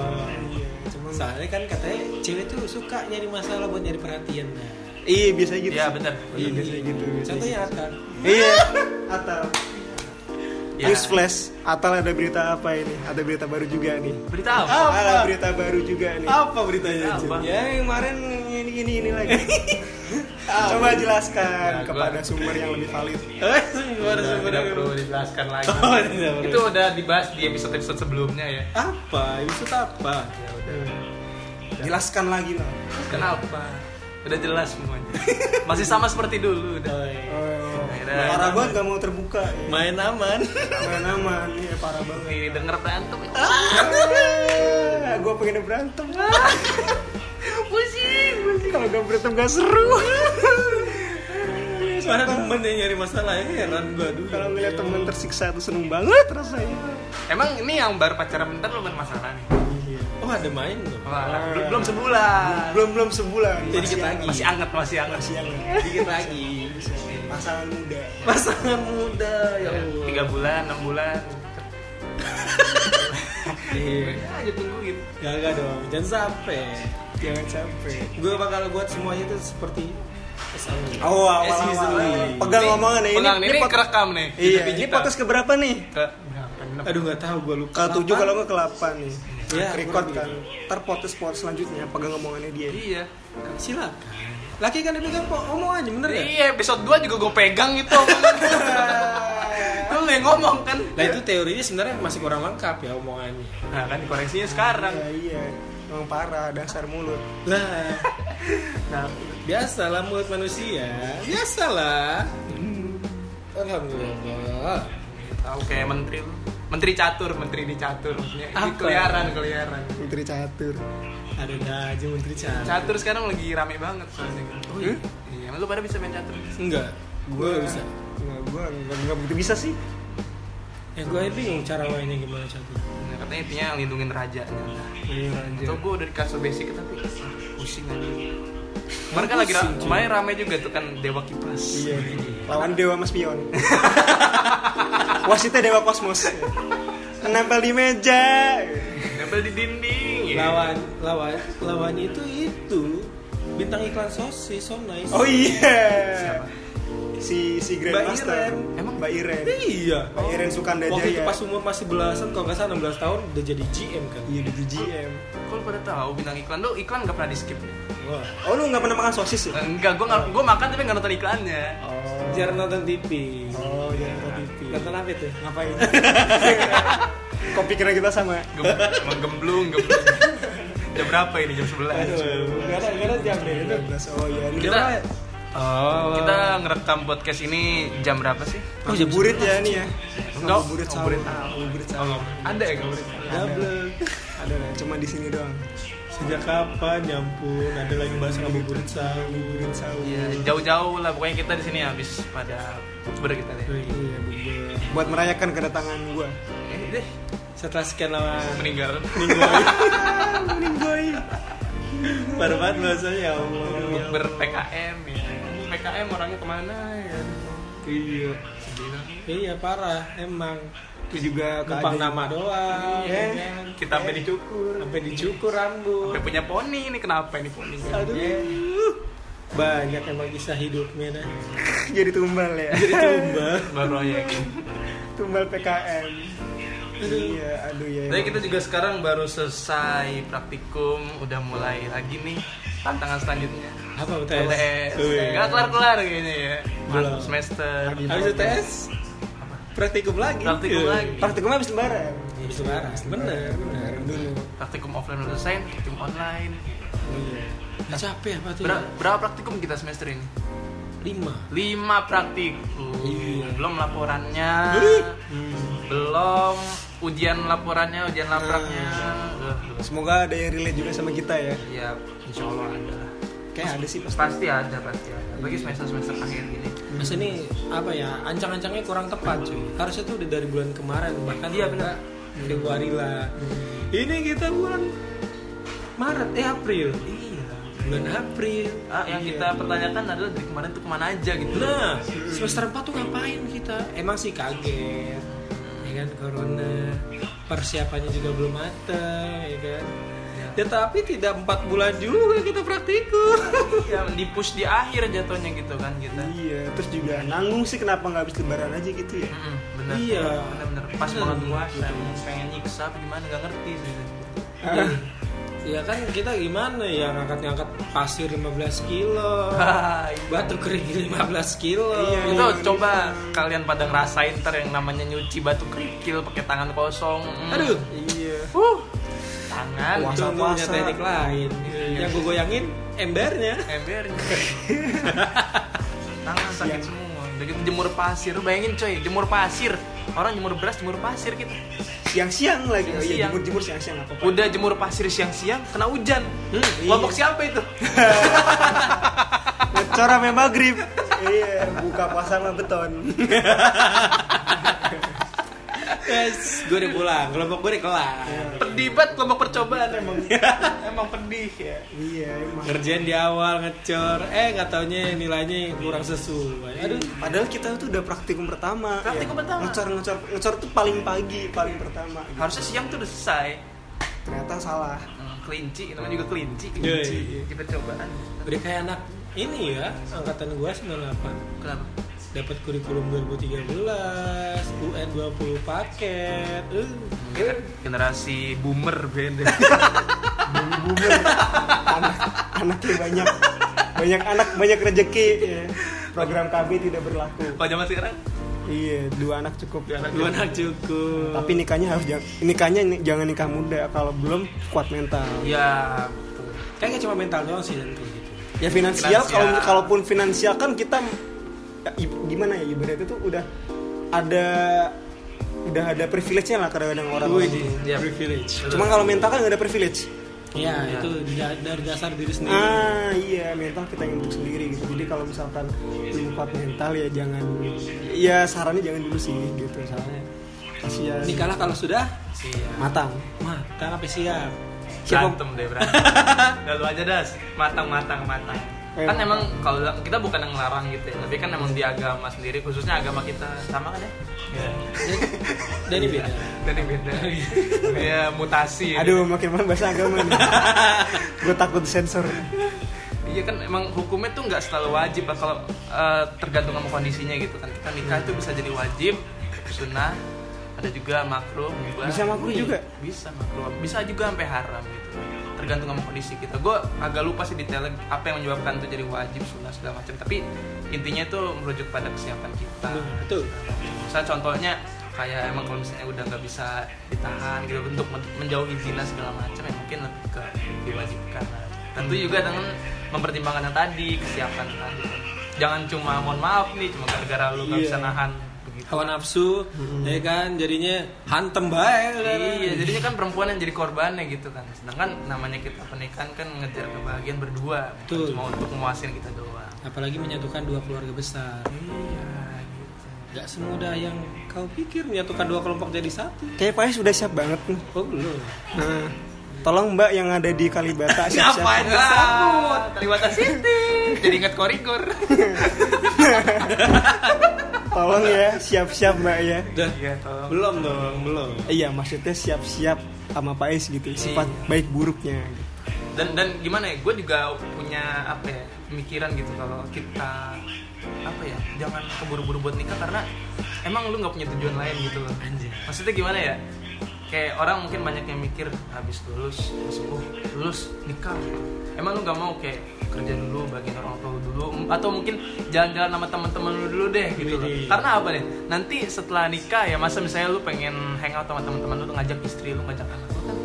Speaker 2: Iya, cuman
Speaker 3: Soalnya kan katanya cewek tuh suka nyari masalah buat nyari perhatian. Nah.
Speaker 2: Iya, biasanya gitu.
Speaker 1: Iya,
Speaker 2: sih.
Speaker 1: benar.
Speaker 2: Iya, biasanya gitu. biasanya
Speaker 3: Contohnya apa?
Speaker 2: gitu. Iya. Atal.
Speaker 1: Ya.
Speaker 2: News flash. Atal ada berita apa ini? Ada berita baru juga nih.
Speaker 1: Berita apa?
Speaker 3: Apa?
Speaker 2: Ada berita baru juga nih.
Speaker 3: Apa beritanya?
Speaker 1: Apa?
Speaker 3: Cil?
Speaker 2: Ya yang kemarin ini ini ini lagi.
Speaker 3: <laughs>
Speaker 2: Coba jelaskan
Speaker 1: Ya, gua-
Speaker 2: kepada sumber yang lebih valid. <laughs>
Speaker 3: Eh,
Speaker 2: Iya.
Speaker 3: gimana
Speaker 1: Udah,
Speaker 3: sebenarnya?
Speaker 1: tidak perlu dijelaskan lagi.
Speaker 3: Oh, tidak perlu.
Speaker 1: Itu udah dibahas di episode-episode sebelumnya ya.
Speaker 3: Apa? Maksud apa?
Speaker 1: Ya udah.
Speaker 2: Jelaskan lagi lah.
Speaker 1: Kenapa? Udah jelas semuanya. Masih sama seperti dulu udah.
Speaker 2: Oh,
Speaker 1: Akhirnya-
Speaker 2: parah banget gak mau terbuka. Ya.
Speaker 3: Main aman.
Speaker 2: Main aman, ya parah banget.
Speaker 1: Ini denger berantem.
Speaker 2: gue pengen berantem. pusing, pusing. Kalau gak berantem gak seru.
Speaker 3: mana temen yang nyari masalah ya heran gua dulu
Speaker 2: Kalau ngeliat temen tersiksa itu seneng banget rasanya.
Speaker 1: Emang ini yang baru pacaran bentar lu main masalah nih.
Speaker 3: oh ada main loh
Speaker 1: Wah, bel- belum sebulan.
Speaker 2: Belum belum sebulan.
Speaker 3: Jadi dikit
Speaker 2: Masih
Speaker 3: lagi.
Speaker 1: Masih anget, masih anget.
Speaker 2: Masih yang
Speaker 3: dikit lagi
Speaker 2: pasangan muda.
Speaker 3: pasangan muda ya Allah
Speaker 1: Iya, Tiga bulan, enam bulan.
Speaker 3: Iya.
Speaker 1: Aja tungguin.
Speaker 3: Gagak dong, jangan sampai.
Speaker 2: Jangan sampai.
Speaker 3: Gue bakal buat semuanya itu seperti Esawi.
Speaker 2: Oh, awal
Speaker 3: As usually.
Speaker 2: awal. Pegang omongan ya ini.
Speaker 1: Pegang ini,
Speaker 2: pod-
Speaker 1: kerekam nih.
Speaker 2: Iya,
Speaker 1: Kita
Speaker 2: ini
Speaker 1: digital.
Speaker 2: podcast keberapa nih?
Speaker 1: ke
Speaker 3: Aduh nggak tahu gue lupa.
Speaker 2: Ke tujuh kalau nggak ke delapan nih.
Speaker 3: Iya,
Speaker 2: record kan.
Speaker 3: kurang
Speaker 2: Terpotes pot selanjutnya pegang omongannya dia.
Speaker 1: Iya.
Speaker 3: silakan. Laki kan dipegang kok omong aja bener ya?
Speaker 1: Iya, episode 2 juga gue pegang itu.
Speaker 2: <laughs>
Speaker 1: Lu yang ngomong kan.
Speaker 3: Nah itu teorinya sebenarnya masih kurang lengkap ya omongannya.
Speaker 1: Nah, kan koreksinya sekarang.
Speaker 2: Iya, iya. Emang parah dasar mulut.
Speaker 3: Nah
Speaker 1: Nah,
Speaker 3: biasalah mulut manusia, biasalah. Alhamdulillah.
Speaker 1: tahu kayak menteri lu. Menteri catur, menteri dicatur maksudnya. Ini
Speaker 3: Apa?
Speaker 1: keliaran, keliaran.
Speaker 2: Menteri catur.
Speaker 3: Ada aja menteri cara.
Speaker 1: Catur sekarang lagi rame banget soalnya. kan.
Speaker 3: Oh iya?
Speaker 1: Iya, lu pada bisa main catur.
Speaker 3: Enggak, gue nggak bisa.
Speaker 2: Nggak, gue nggak nggak begitu bisa sih.
Speaker 3: Ya gue bingung cara mainnya gimana catur.
Speaker 1: Nah, katanya intinya lindungin rajanya.
Speaker 3: Iya aja.
Speaker 1: Tuh gue udah dikasih basic tapi ah, pusing aja. Kemarin kan lagi ra-
Speaker 3: Pusing, cuy.
Speaker 1: kemarin rame juga tuh kan Dewa Kipas.
Speaker 2: Iya. Lawan Dewa Mas Pion. <laughs> Wasitnya Dewa Kosmos. Nempel di meja.
Speaker 1: <laughs> Nempel di dinding. ya.
Speaker 3: lawan lawan lawan itu itu bintang iklan sosis so nice
Speaker 2: Oh iya.
Speaker 1: Siapa?
Speaker 2: Si si
Speaker 3: Mbak Iren.
Speaker 2: Grandmaster.
Speaker 1: Emang?
Speaker 2: Mbak Iren.
Speaker 3: iya
Speaker 2: Mbak Iren Sukandajaya.
Speaker 3: waktu itu pas umur masih belasan kalau nggak salah 16 tahun udah jadi GM kan
Speaker 2: Iya di GM.
Speaker 1: Kok lu pada tahu bintang iklan lo iklan nggak pernah di skip?
Speaker 3: wah
Speaker 2: Oh lu nggak pernah makan sosis ya?
Speaker 1: Enggak, gue nggak gue makan tapi nggak nonton iklannya.
Speaker 2: Oh.
Speaker 3: jarang nonton TV
Speaker 2: Oh iya nonton TV.
Speaker 3: nonton apa tuh
Speaker 2: Ngapain? Kok pikiran kita sama?
Speaker 1: Gem, emang gemblung, gemblung. jam berapa ini jam 11
Speaker 3: nggak ada nggak ada jam deh itu
Speaker 2: 12. Oh iya. Ini
Speaker 1: Kita
Speaker 2: Iya, berapa?
Speaker 3: oh
Speaker 1: kita ngerekam podcast ini jam berapa sih?
Speaker 3: oh jam
Speaker 2: Ngabuburit ya ini ya.
Speaker 1: Enggak,
Speaker 2: Ngabuburit sama.
Speaker 1: ngabuburit.
Speaker 2: Ngabuburit
Speaker 1: Oh,
Speaker 2: sama.
Speaker 1: nggak. ada ya kamu?
Speaker 3: double
Speaker 2: Ada lah, cuma di sini doang.
Speaker 3: sejak kapan ya ampun ada lagi bahasa ngabuburit sahur
Speaker 2: Ngabuburit sahur.
Speaker 1: Iya, jauh-jauh lah pokoknya kita di sini habis pada bukber kita deh.
Speaker 2: Iya, bubur. Buat merayakan kedatangan gua.
Speaker 1: Eh, deh,
Speaker 3: setelah sekian lama
Speaker 1: meninggal.
Speaker 3: meninggal
Speaker 2: Mending boy.
Speaker 3: baru banget bahasanya ya Allah
Speaker 1: Bukber PKM ya. PKM orangnya kemana ya?
Speaker 3: iya
Speaker 1: Sedih banget.
Speaker 3: <laughs> iya parah emang
Speaker 2: Itu juga
Speaker 3: numpang
Speaker 2: keadaan-
Speaker 3: nama doang
Speaker 2: Iya.
Speaker 3: ya kan?
Speaker 1: Eh, Kita sampai dicukur.
Speaker 3: sampai dicukur rambut
Speaker 1: Sampai punya poni ini kenapa ini poni?
Speaker 3: aduh
Speaker 2: Iya.
Speaker 3: banyak emang kisah hidupnya nah.
Speaker 2: <laughs> Jadi tumbal ya.
Speaker 3: jadi tumbal
Speaker 1: Baru aja kayak gitu.
Speaker 2: tumbal PKM. Iya, aduh ya.
Speaker 1: Tapi kita juga sekarang baru selesai praktikum, udah mulai lagi nih tantangan selanjutnya.
Speaker 3: apa UTS?
Speaker 1: UTS,
Speaker 3: Oh, iya.
Speaker 1: nggak kelar-kelar kayaknya ya.
Speaker 3: Belum.
Speaker 1: Satu semester,
Speaker 2: Lagi.
Speaker 3: habis UTS praktikum lagi
Speaker 1: praktikum
Speaker 3: Iya.
Speaker 1: lagi.
Speaker 2: praktikumnya habis lebaran.
Speaker 3: habis lebaran bener bener
Speaker 2: Dulu.
Speaker 1: Praktikum offline udah selesai, praktikum online.
Speaker 3: Iya. Nah, capek apa tuh
Speaker 1: Berapa, berapa praktikum kita semester ini?
Speaker 3: lima
Speaker 1: Lima praktikum.
Speaker 3: Iya.
Speaker 1: Belum laporannya,
Speaker 2: Hmm.
Speaker 1: belum ujian laporannya, ujian lapraknya. Eh,
Speaker 2: Semoga ada yang relate juga sama kita ya.
Speaker 1: Ya, insya Allah ada lah.
Speaker 2: Kayak ada sih pasti.
Speaker 1: Pasti ada, pasti ada. Bagi semester-semester akhir gini.
Speaker 3: Mas ini apa ya ancang-ancangnya kurang tepat cuy. Harusnya tuh udah dari bulan kemarin bahkan
Speaker 1: Iya,
Speaker 3: kalau
Speaker 1: benar.
Speaker 3: nggak Februari lah. Ini kita bulan Maret eh April.
Speaker 1: Iya.
Speaker 3: Bulan April.
Speaker 1: Ah, yang kita pertanyakan adalah dari kemarin tuh kemana aja gitu.
Speaker 3: Nah, semester 4 tuh ngapain kita? Emang sih kaget. Ya kan corona persiapannya juga belum matang ya kan. Ya, tapi tidak empat bulan juga kita praktikum. <laughs>
Speaker 1: Iya, di push di akhir jatuhnya gitu kan kita.
Speaker 2: Iya, terus juga nanggung sih kenapa nggak habis lebaran aja gitu ya.
Speaker 1: Mm-mm, bener.
Speaker 3: Iya.
Speaker 1: Bener-bener. Pas
Speaker 3: Bener.
Speaker 1: banget puasa, emang pengen nyiksa apa gimana nggak ngerti sih.
Speaker 3: <laughs> Ya kan kita gimana ya ngangkat-ngangkat pasir 15
Speaker 1: <laughs>
Speaker 3: kilo,
Speaker 1: Hai.
Speaker 3: batu kering 15 kilo.
Speaker 2: Iya.
Speaker 1: itu coba kalian pada ngerasain ter yang namanya nyuci batu kerikil pakai tangan kosong. Mm.
Speaker 3: Aduh,
Speaker 2: Iya.
Speaker 1: Huh. Tangan.
Speaker 2: Wah.
Speaker 3: untung punya
Speaker 2: Puasa-puasa.
Speaker 3: teknik lain.
Speaker 1: Iya.
Speaker 3: Yang gue goyangin embernya.
Speaker 1: Embernya. <laughs> tangan sakit semua. Udah gitu jemur pasir, Lu bayangin coy, jemur pasir. Orang jemur beras, jemur pasir gitu.
Speaker 2: Siang-siang lagi. Oh iya,
Speaker 1: Siang-siang.
Speaker 2: jemur-jemur siang-siang apa?
Speaker 1: Udah jemur pasir siang-siang, kena hujan.
Speaker 3: iya.
Speaker 2: Hmm,
Speaker 1: Kelompok siapa itu?
Speaker 2: <laughs> Ngecor sampai maghrib. iya buka pasangan beton
Speaker 3: Yes, gue udah pulang. Kelompok gue udah kelar.
Speaker 1: Pedih banget kelompok percobaan emang.
Speaker 3: <laughs>
Speaker 1: emang pedih ya.
Speaker 2: iya emang
Speaker 3: Ngerjain di awal ngecor, eh nggak taunya nilainya kurang sesuai. Aduh,
Speaker 2: padahal kita tuh udah praktikum pertama
Speaker 1: Praktikum pertama.
Speaker 2: ngecor ngecor ngecor tuh paling pagi paling pertama
Speaker 1: Harusnya siang tuh udah selesai.
Speaker 2: ternyata salah
Speaker 1: Hmm, kelinci, namanya juga kelinci.
Speaker 3: Iya,
Speaker 1: Kelinci.
Speaker 3: iya.
Speaker 1: Di percobaan.
Speaker 3: udah kayak anak ini ya, angkatan gue 98
Speaker 1: Kenapa?
Speaker 3: dapat kurikulum 2013, UN 20 paket. Uh.
Speaker 1: Gener- Generasi boomer band.
Speaker 2: bubur anak anaknya banyak banyak anak banyak rezeki ya. program kami tidak berlaku
Speaker 1: Kalau zaman sekarang
Speaker 2: iya dua anak cukup
Speaker 3: Dua anak cukup.
Speaker 2: tapi nikahnya harus jangan nikahnya ni- jangan nikah muda kalau belum kuat mental
Speaker 1: ya betul.
Speaker 3: Kayaknya cuma mental doang sih dan kayak gitu.
Speaker 2: ya finansial
Speaker 1: Finansial.
Speaker 2: kalau kalaupun finansial kan kita ya, i- gimana ya ibaratnya tuh udah ada udah ada privilege-nya lah kadang-kadang orang
Speaker 3: Wih,
Speaker 2: itu.
Speaker 1: iya.
Speaker 3: privilege.
Speaker 2: cuma kalau mental kan nggak ada privilege
Speaker 3: Iya,
Speaker 1: Hmm.
Speaker 3: itu da- dari dasar diri sendiri.
Speaker 2: ah iya mental kita yang untuk sendiri gitu jadi kalau misalkan lu kuat mental ya jangan ya sarannya jangan dulu sih gitu soalnya kasihan
Speaker 3: Nikahlah kalau sudah
Speaker 1: Siap.
Speaker 2: matang
Speaker 3: matang apa siap.
Speaker 2: Siapa-
Speaker 1: Berantem deh berantem. Udah lu aja das. Matang matang matang.
Speaker 2: Eh,
Speaker 1: Kan emang kalau kita bukan yang ngelarang gitu ya, tapi kan emang di agama sendiri khususnya agama kita sama kan ya?
Speaker 3: Dan ini
Speaker 1: <laughs>
Speaker 3: beda.
Speaker 1: Dari beda. Dia mutasi.
Speaker 3: Iya.
Speaker 2: aduh makin malam bahasa agama
Speaker 3: <laughs>
Speaker 2: nih gue takut sensor
Speaker 1: Iya kan emang hukumnya tuh nggak selalu wajib Pak. kalau eh, tergantung sama kondisinya gitu kan kita nikah itu bisa jadi wajib sunnah ada juga makruh mubah.
Speaker 2: Bisa makruh
Speaker 1: Iya,
Speaker 2: juga?
Speaker 1: bisa makruh bisa juga sampai haram gitu tergantung sama kondisi kita gue agak lupa sih detailnya apa yang menyebabkan itu jadi wajib sunnah segala macam tapi intinya itu merujuk pada kesiapan kita
Speaker 3: Betul.
Speaker 1: Misalnya contohnya kayak emang kalau misalnya udah nggak bisa ditahan gitu bentuk men- menjauhi zina segala macam ya mungkin lebih ke diwajibkan tentu juga dengan mempertimbangkan yang tadi kesiapan tadi jangan cuma mohon maaf nih cuma gara-gara lu nggak
Speaker 3: Iya.
Speaker 1: bisa nahan begitu
Speaker 3: Hawa nafsu, ya kan jadinya hantem bae.
Speaker 1: Hmm. iya jadinya kan perempuan yang jadi korbannya gitu kan sedangkan namanya kita pernikahan kan ngejar kebahagiaan berdua bukan
Speaker 3: Betul.
Speaker 1: cuma untuk memuasin kita doang
Speaker 3: Apalagi menyatukan dua keluarga besar.
Speaker 1: iya gitu
Speaker 3: Gak semudah yang kau pikir menyatukan dua kelompok jadi satu.
Speaker 2: kayak Pak sudah siap banget nih
Speaker 3: Oh belum.
Speaker 2: Nah, tolong Mbak yang ada di
Speaker 3: <laughs>
Speaker 2: Kalibata
Speaker 3: Ngapain?
Speaker 2: siap-siap.
Speaker 1: Sabut, Kalimantan City. Jadi ingat korigor.
Speaker 2: Tolong ya, siap-siap Mbak ya.
Speaker 3: Dah.
Speaker 1: Iya, tolong.
Speaker 3: Belum dong, belum.
Speaker 2: Iya, maksudnya siap-siap sama Pak Is gitu, sifat
Speaker 1: Iya.
Speaker 2: baik buruknya.
Speaker 1: dan dan gimana ya gue juga punya apa ya pemikiran gitu kalau kita apa ya jangan keburu-buru buat nikah karena emang lu nggak punya tujuan lain gitu loh
Speaker 3: Anjir.
Speaker 1: maksudnya gimana ya kayak orang mungkin banyak yang mikir habis lulus habis oh, lulus nikah emang lu nggak mau kayak kerja dulu bagian orang tua lu dulu M- atau mungkin jalan-jalan sama teman-teman lu dulu deh gitu loh.
Speaker 3: Widih.
Speaker 1: karena apa deh nanti setelah nikah ya masa misalnya lu pengen hangout sama teman-teman lu lu ngajak istri lu ngajak anak lu kan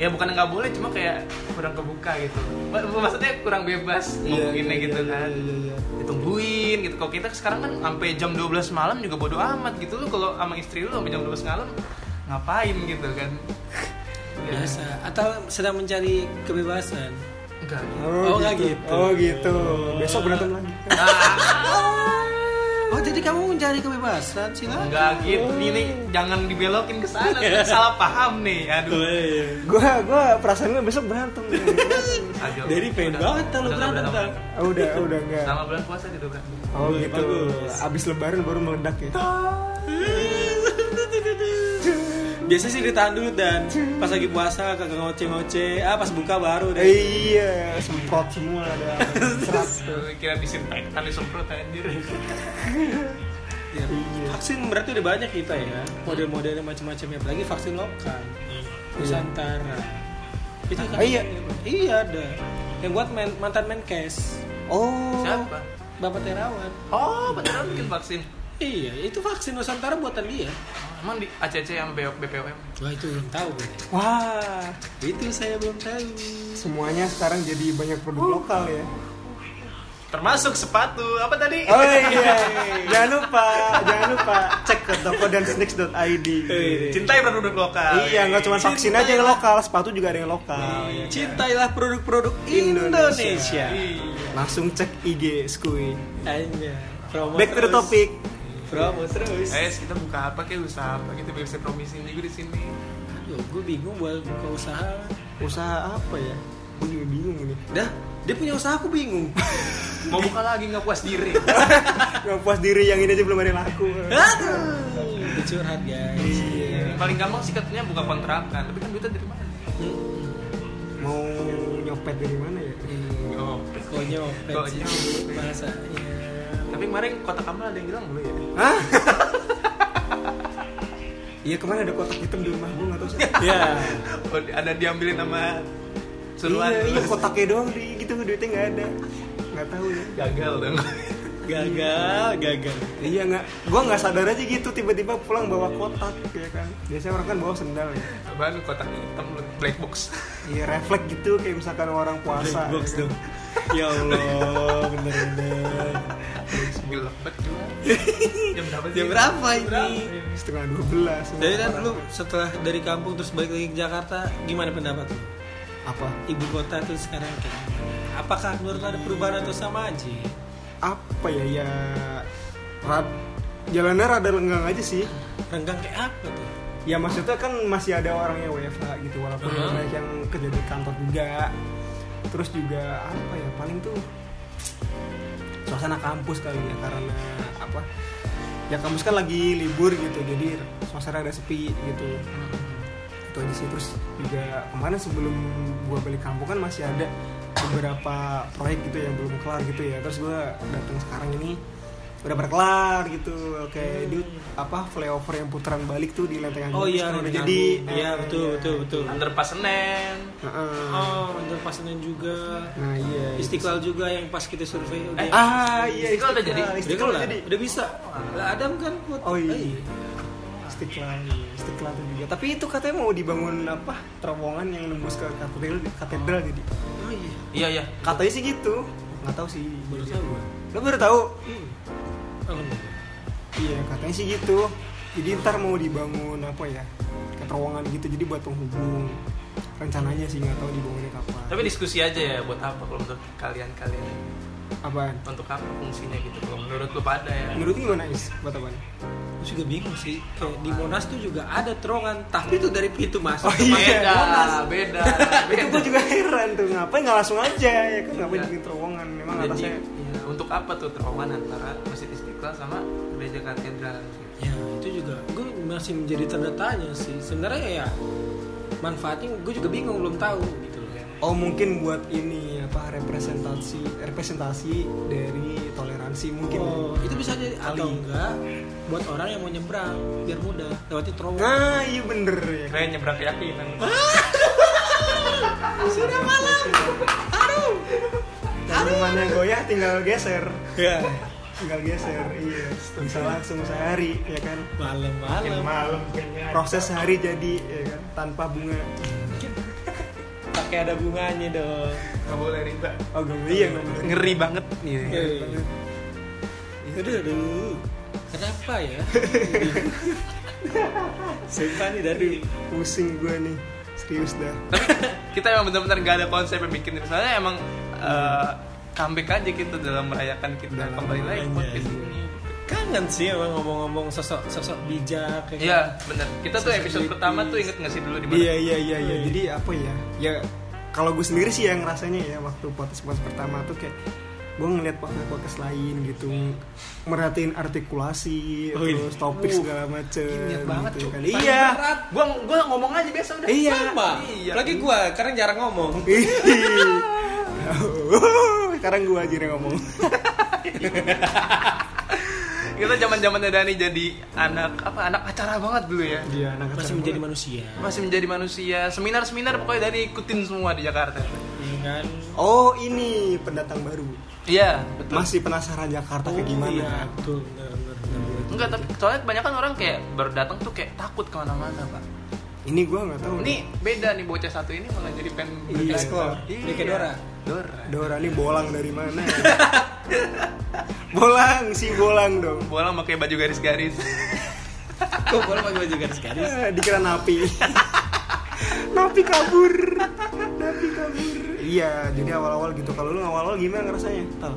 Speaker 1: ya bukan nggak boleh cuma kayak kurang kebuka gitu Ma- maksudnya kurang bebas
Speaker 3: Iya,
Speaker 1: ngomonginnya gitu kan ditungguin gitu kalau kita sekarang kan sampai jam 12 malam juga bodo amat gitu lu kalau sama istri lu sampai jam 12 malam ngapain gitu kan Ya,
Speaker 3: Biasa. Atau sedang mencari kebebasan.
Speaker 1: enggak
Speaker 3: Oh, nggak gitu.
Speaker 2: Oh gitu. Besok berantem lagi.
Speaker 1: Ah,
Speaker 3: Oh jadi kamu mencari kebebasan silakan.
Speaker 1: enggak gitu ini jangan dibelokin ke sana
Speaker 3: Iya.
Speaker 1: Nanti salah paham nih aduh
Speaker 2: Gua gua perasaan gua besok berantem.
Speaker 1: Aduh,
Speaker 3: Dari
Speaker 1: Iya.
Speaker 3: pengen
Speaker 1: udah-
Speaker 3: banget lu
Speaker 1: udah nggak
Speaker 3: berantem,
Speaker 1: berantem.
Speaker 2: Oh, udah, udah enggak.
Speaker 1: sama bulan puasa gitu
Speaker 3: <laughs>
Speaker 1: kan
Speaker 2: Oh
Speaker 3: Bagus,
Speaker 2: gitu.
Speaker 3: bagus.
Speaker 2: Abis lebaran baru meledak ya.
Speaker 3: Biasa sih ditahan dulu dan pas lagi puasa kagak ngoceh-ngoceh. Ah pas buka baru deh.
Speaker 2: Iya, semprot semua ada. Serat.
Speaker 1: Tuh, kira disinfektan disemprot anjir
Speaker 3: Iya. Ya, Vaksin berarti udah banyak kita ya. Model-modelnya macam-macamnya apalagi vaksin lokal. Nusantara. Itu
Speaker 2: Iya.
Speaker 3: kan
Speaker 2: Ah, iya.
Speaker 3: Iya ada. Yang buat men- mantan Menkes,
Speaker 2: Oh.
Speaker 1: siapa
Speaker 3: Bapak Terawan.
Speaker 1: oh beneran bikin vaksin
Speaker 3: Iya, itu vaksin Nusantara buatan dia.
Speaker 1: Emang di ACC sama B- BPOM?
Speaker 3: Wah itu belum tahu gue.
Speaker 2: Wah,
Speaker 3: Itu saya belum tahu.
Speaker 2: semuanya sekarang jadi banyak produk lokal ya.
Speaker 1: termasuk sepatu apa tadi
Speaker 2: Oh iya, jangan lupa, jangan lupa cek ke toko dan snacks.id.
Speaker 1: <laughs> cintai produk lokal
Speaker 2: Iya, nggak cuma vaksin aja yang lokal, sepatu juga ada yang lokal. ya
Speaker 3: Iya.
Speaker 2: kan?
Speaker 3: Cintailah produk-produk
Speaker 2: Indonesia.
Speaker 3: Indonesia. Iya.
Speaker 2: kan? Langsung cek IG Skui.
Speaker 3: Hanya promo
Speaker 2: Back to the
Speaker 3: terus.
Speaker 2: topic.
Speaker 3: Promo terus.
Speaker 1: Eh, kita buka apa kayak usaha apa kita bisa promisiin juga di sini.
Speaker 3: Aduh, gue bingung buat buka usaha.
Speaker 2: Usaha apa ya? Gue juga bingung nih.
Speaker 3: Dah, dia punya usaha aku
Speaker 2: <laughs>
Speaker 3: bingung.
Speaker 1: Mau buka lagi nggak puas diri.
Speaker 2: Gak puas diri yang ini aja belum ada yang laku.
Speaker 3: Aduh, Itu curhat guys.
Speaker 2: Iya.
Speaker 1: Paling gampang sih katanya buka kontrakan, tapi kan duitnya dari mana?
Speaker 2: Mau nyopet dari mana ya?
Speaker 1: Oh.
Speaker 3: Konyol,
Speaker 1: Konyol.
Speaker 3: bahasanya.
Speaker 1: Tapi kemarin kota kamu ada yang bilang belum ya?
Speaker 2: Hah? Iya kemarin ada kotak hitam di rumah gue nggak tahu <laughs> siapa.
Speaker 3: Ya,
Speaker 1: <laughs> Oh, ada diambilin sama seluan.
Speaker 2: Iya, iya
Speaker 1: terus.
Speaker 2: kotaknya doang di gitu duitnya nggak ada. Nggak tahu ya.
Speaker 1: Gagal dong.
Speaker 3: gagal, gagal.
Speaker 2: Iya nggak, gue nggak sadar aja gitu tiba-tiba pulang bawa kotak ya kan. Biasanya orang kan bawa sendal ya.
Speaker 1: Apaan kotak hitam black box.
Speaker 2: Iya refleks gitu kayak misalkan orang puasa. kan.
Speaker 3: Black box dong. Ya Allah, bener-bener.
Speaker 1: Gila banget gila. Jam berapa sih?
Speaker 3: Jam berapa ini?
Speaker 2: Setengah dua belas.
Speaker 3: Jadi kan lu setelah dari kampung terus balik lagi ke Jakarta, gimana pendapat lu?
Speaker 2: apa?
Speaker 3: Ibu kota tuh sekarang kayak gimana? Apakah menurut lu ada perubahan atau sama aja?
Speaker 2: Apa ya ya? Rad, jalannya rada lenggang aja sih.
Speaker 3: Renggang kayak apa tuh?
Speaker 2: Ya maksudnya kan masih ada orang yang WFH gitu walaupun
Speaker 3: Hmm.
Speaker 2: banyak yang kerja di kantor juga. Terus juga apa ya paling tuh suasana kampus kali ya karena apa? Ya kampus kan lagi libur gitu jadi suasana ada sepi gitu. Itu
Speaker 3: Hmm.
Speaker 2: aja sih terus juga kemarin sebelum gua balik kampung kan masih ada beberapa proyek gitu yang belum kelar gitu ya. Terus gua datang sekarang ini udah berkelar gitu kayak di apa flyover yang putaran balik tuh di lenteng
Speaker 3: Hmm. Oh
Speaker 2: Agung
Speaker 3: iya,
Speaker 2: terus udah
Speaker 3: Renggang.
Speaker 2: jadi
Speaker 3: Iya,
Speaker 2: Eh,
Speaker 3: betul,
Speaker 2: iya.
Speaker 3: betul, betul.
Speaker 1: Underpass Senen.
Speaker 2: Heeh.
Speaker 3: Oh, Renjang Pasenan juga.
Speaker 2: nah iya itu.
Speaker 3: Istiqlal juga yang pas kita survei udah.
Speaker 1: Eh,
Speaker 2: ah iya
Speaker 1: Istiqlal udah jadi?
Speaker 3: udah
Speaker 2: istiqlal udah
Speaker 3: kelar,
Speaker 2: jadi Ah.
Speaker 3: udah bisa. Lah Adam kan buat.
Speaker 2: oh iya
Speaker 3: Eh,
Speaker 2: istiqlal iya. istiqlal tuh juga tapi itu katanya mau dibangun apa terowongan yang nembus ke katedral katedral jadi
Speaker 3: Oh iya.
Speaker 1: Iya iya.
Speaker 2: katanya sih gitu nggak tahu sih
Speaker 3: Baru tahu gua.
Speaker 2: lo baru tahu
Speaker 3: Hmm. Alhamdulillah.
Speaker 2: Iya katanya sih gitu. Jadi ntar mau dibangun apa ya? Kayak terowongan gitu. Jadi buat penghubung. Rencananya sih nggak tahu dibangunnya kapan.
Speaker 1: Tapi diskusi aja ya buat apa kalau menurut kalian-kalian.
Speaker 2: apaan?
Speaker 1: Untuk apa fungsinya gitu kalau menurut lu pada ya.
Speaker 2: Menurut lu gimana is? Buat apaan?
Speaker 3: Gue juga bingung sih. Kayak di Monas tuh juga ada terowongan, tapi itu dari pintu masuk.
Speaker 2: Oh iya.
Speaker 1: Beda,
Speaker 2: Monas.
Speaker 1: beda.
Speaker 2: Itu
Speaker 1: beda.
Speaker 2: gue juga heran tuh. Ngapain nggak langsung aja ya kan? Ngapain
Speaker 1: kan Iya.
Speaker 2: bikin terowongan? Memang
Speaker 1: Jadi,
Speaker 2: atasnya.
Speaker 1: ya, untuk apa tuh terowongan antara Masjid Istiqlal sama Gereja Katedral?
Speaker 3: Ya itu juga. Gue masih menjadi tanda tanya sih. Sebenarnya ya manfaatnya gue juga bingung belum tahu gitu loh.
Speaker 2: Oh mungkin buat ini apa representasi representasi dari toleransi mungkin.
Speaker 3: Oh, itu bisa jadi atau
Speaker 2: Kali.
Speaker 3: enggak buat orang yang mau nyebrang biar mudah lewatin terowongan.
Speaker 2: Nah iya bener ya.
Speaker 1: Keren nyebrang keyakinan.
Speaker 2: Ah.
Speaker 3: Sudah malam. Aduh.
Speaker 2: Kalau mana yang goyah tinggal geser.
Speaker 3: Ya.
Speaker 2: Tinggal geser. Iya. Bisa langsung sehari ya kan.
Speaker 3: Malam-malam.
Speaker 2: malam proses sehari jadi ya kan, tanpa bunga
Speaker 3: pakai ada bunganya dong
Speaker 1: Gak boleh riba.
Speaker 2: oh gak boleh, iya gak boleh.
Speaker 1: Ngeri banget. Iya.
Speaker 3: aduh aduh kenapa <laughs> ya sumpah nih dari
Speaker 2: Aduh, pusing gue nih serius dah
Speaker 1: Tapi <laughs> kita emang benar-benar gak ada konsep yang bikin. Misalnya emang eh, comeback aja gitu dalam merayakan kita
Speaker 2: Dalam
Speaker 1: kembali lagi
Speaker 3: merayakan,
Speaker 1: podcast
Speaker 3: iya.
Speaker 1: ini.
Speaker 3: kangen sih emang ngomong-ngomong sosok sosok bijak kayak gitu.
Speaker 1: Iya, benar. Kita tuh episode
Speaker 3: Sosialitis.
Speaker 1: pertama tuh inget nggak sih dulu di mana?
Speaker 2: iya iya iya iya jadi apa ya ya kalau gue sendiri sih yang rasanya ya waktu podcast podcast pertama tuh kayak gue ngeliat podcast podcast lain gitu merhatiin artikulasi
Speaker 3: Oh, iya.
Speaker 2: terus topik
Speaker 3: Uh,
Speaker 2: segala macem
Speaker 3: ingat banget,
Speaker 2: gitu
Speaker 3: Cuk.
Speaker 2: kan.
Speaker 3: Paling
Speaker 2: iya <laughs>
Speaker 3: berat.
Speaker 1: Gua gua ngomong aja biasa udah.
Speaker 2: Iya.
Speaker 3: sama
Speaker 1: Iya.
Speaker 3: lagi gua karena jarang ngomong
Speaker 2: Ih. sekarang gue aja yang ngomong
Speaker 1: Kita zaman-zamannya Dani jadi anak apa anak acara banget dulu ya.
Speaker 3: Iya,
Speaker 2: <laughs> dia anak
Speaker 3: masih menjadi manusia
Speaker 1: Masih menjadi manusia. Seminar-seminar pokoknya Dani ikutin semua di Jakarta.
Speaker 3: Iya kan
Speaker 2: oh ini pendatang baru
Speaker 1: Iya, betul.
Speaker 2: masih penasaran Jakarta kayak gimana
Speaker 3: iya betul benar benar, benar.
Speaker 1: Enggak, tapi soalnya kebanyakan orang kayak baru datang tuh kayak takut kemana-mana, Pak.
Speaker 2: ini gua nggak tahu
Speaker 1: Ini beda nih bocah satu ini malah jadi pen
Speaker 2: Iya.
Speaker 3: Explore. Ini kayak Dora.
Speaker 1: Dora.
Speaker 2: Dora ini bolang dari mana ya? <laughs> bolang si bolang dong
Speaker 1: Bola pakai baju
Speaker 3: <laughs>
Speaker 1: garis-garis.
Speaker 3: Kok boleh pakai baju garis-garis?
Speaker 2: Eh, dikira napi <laughs> napi kabur napi kabur iya jadi awal-awal gitu kalau lu awal-awal gimana rasanya tal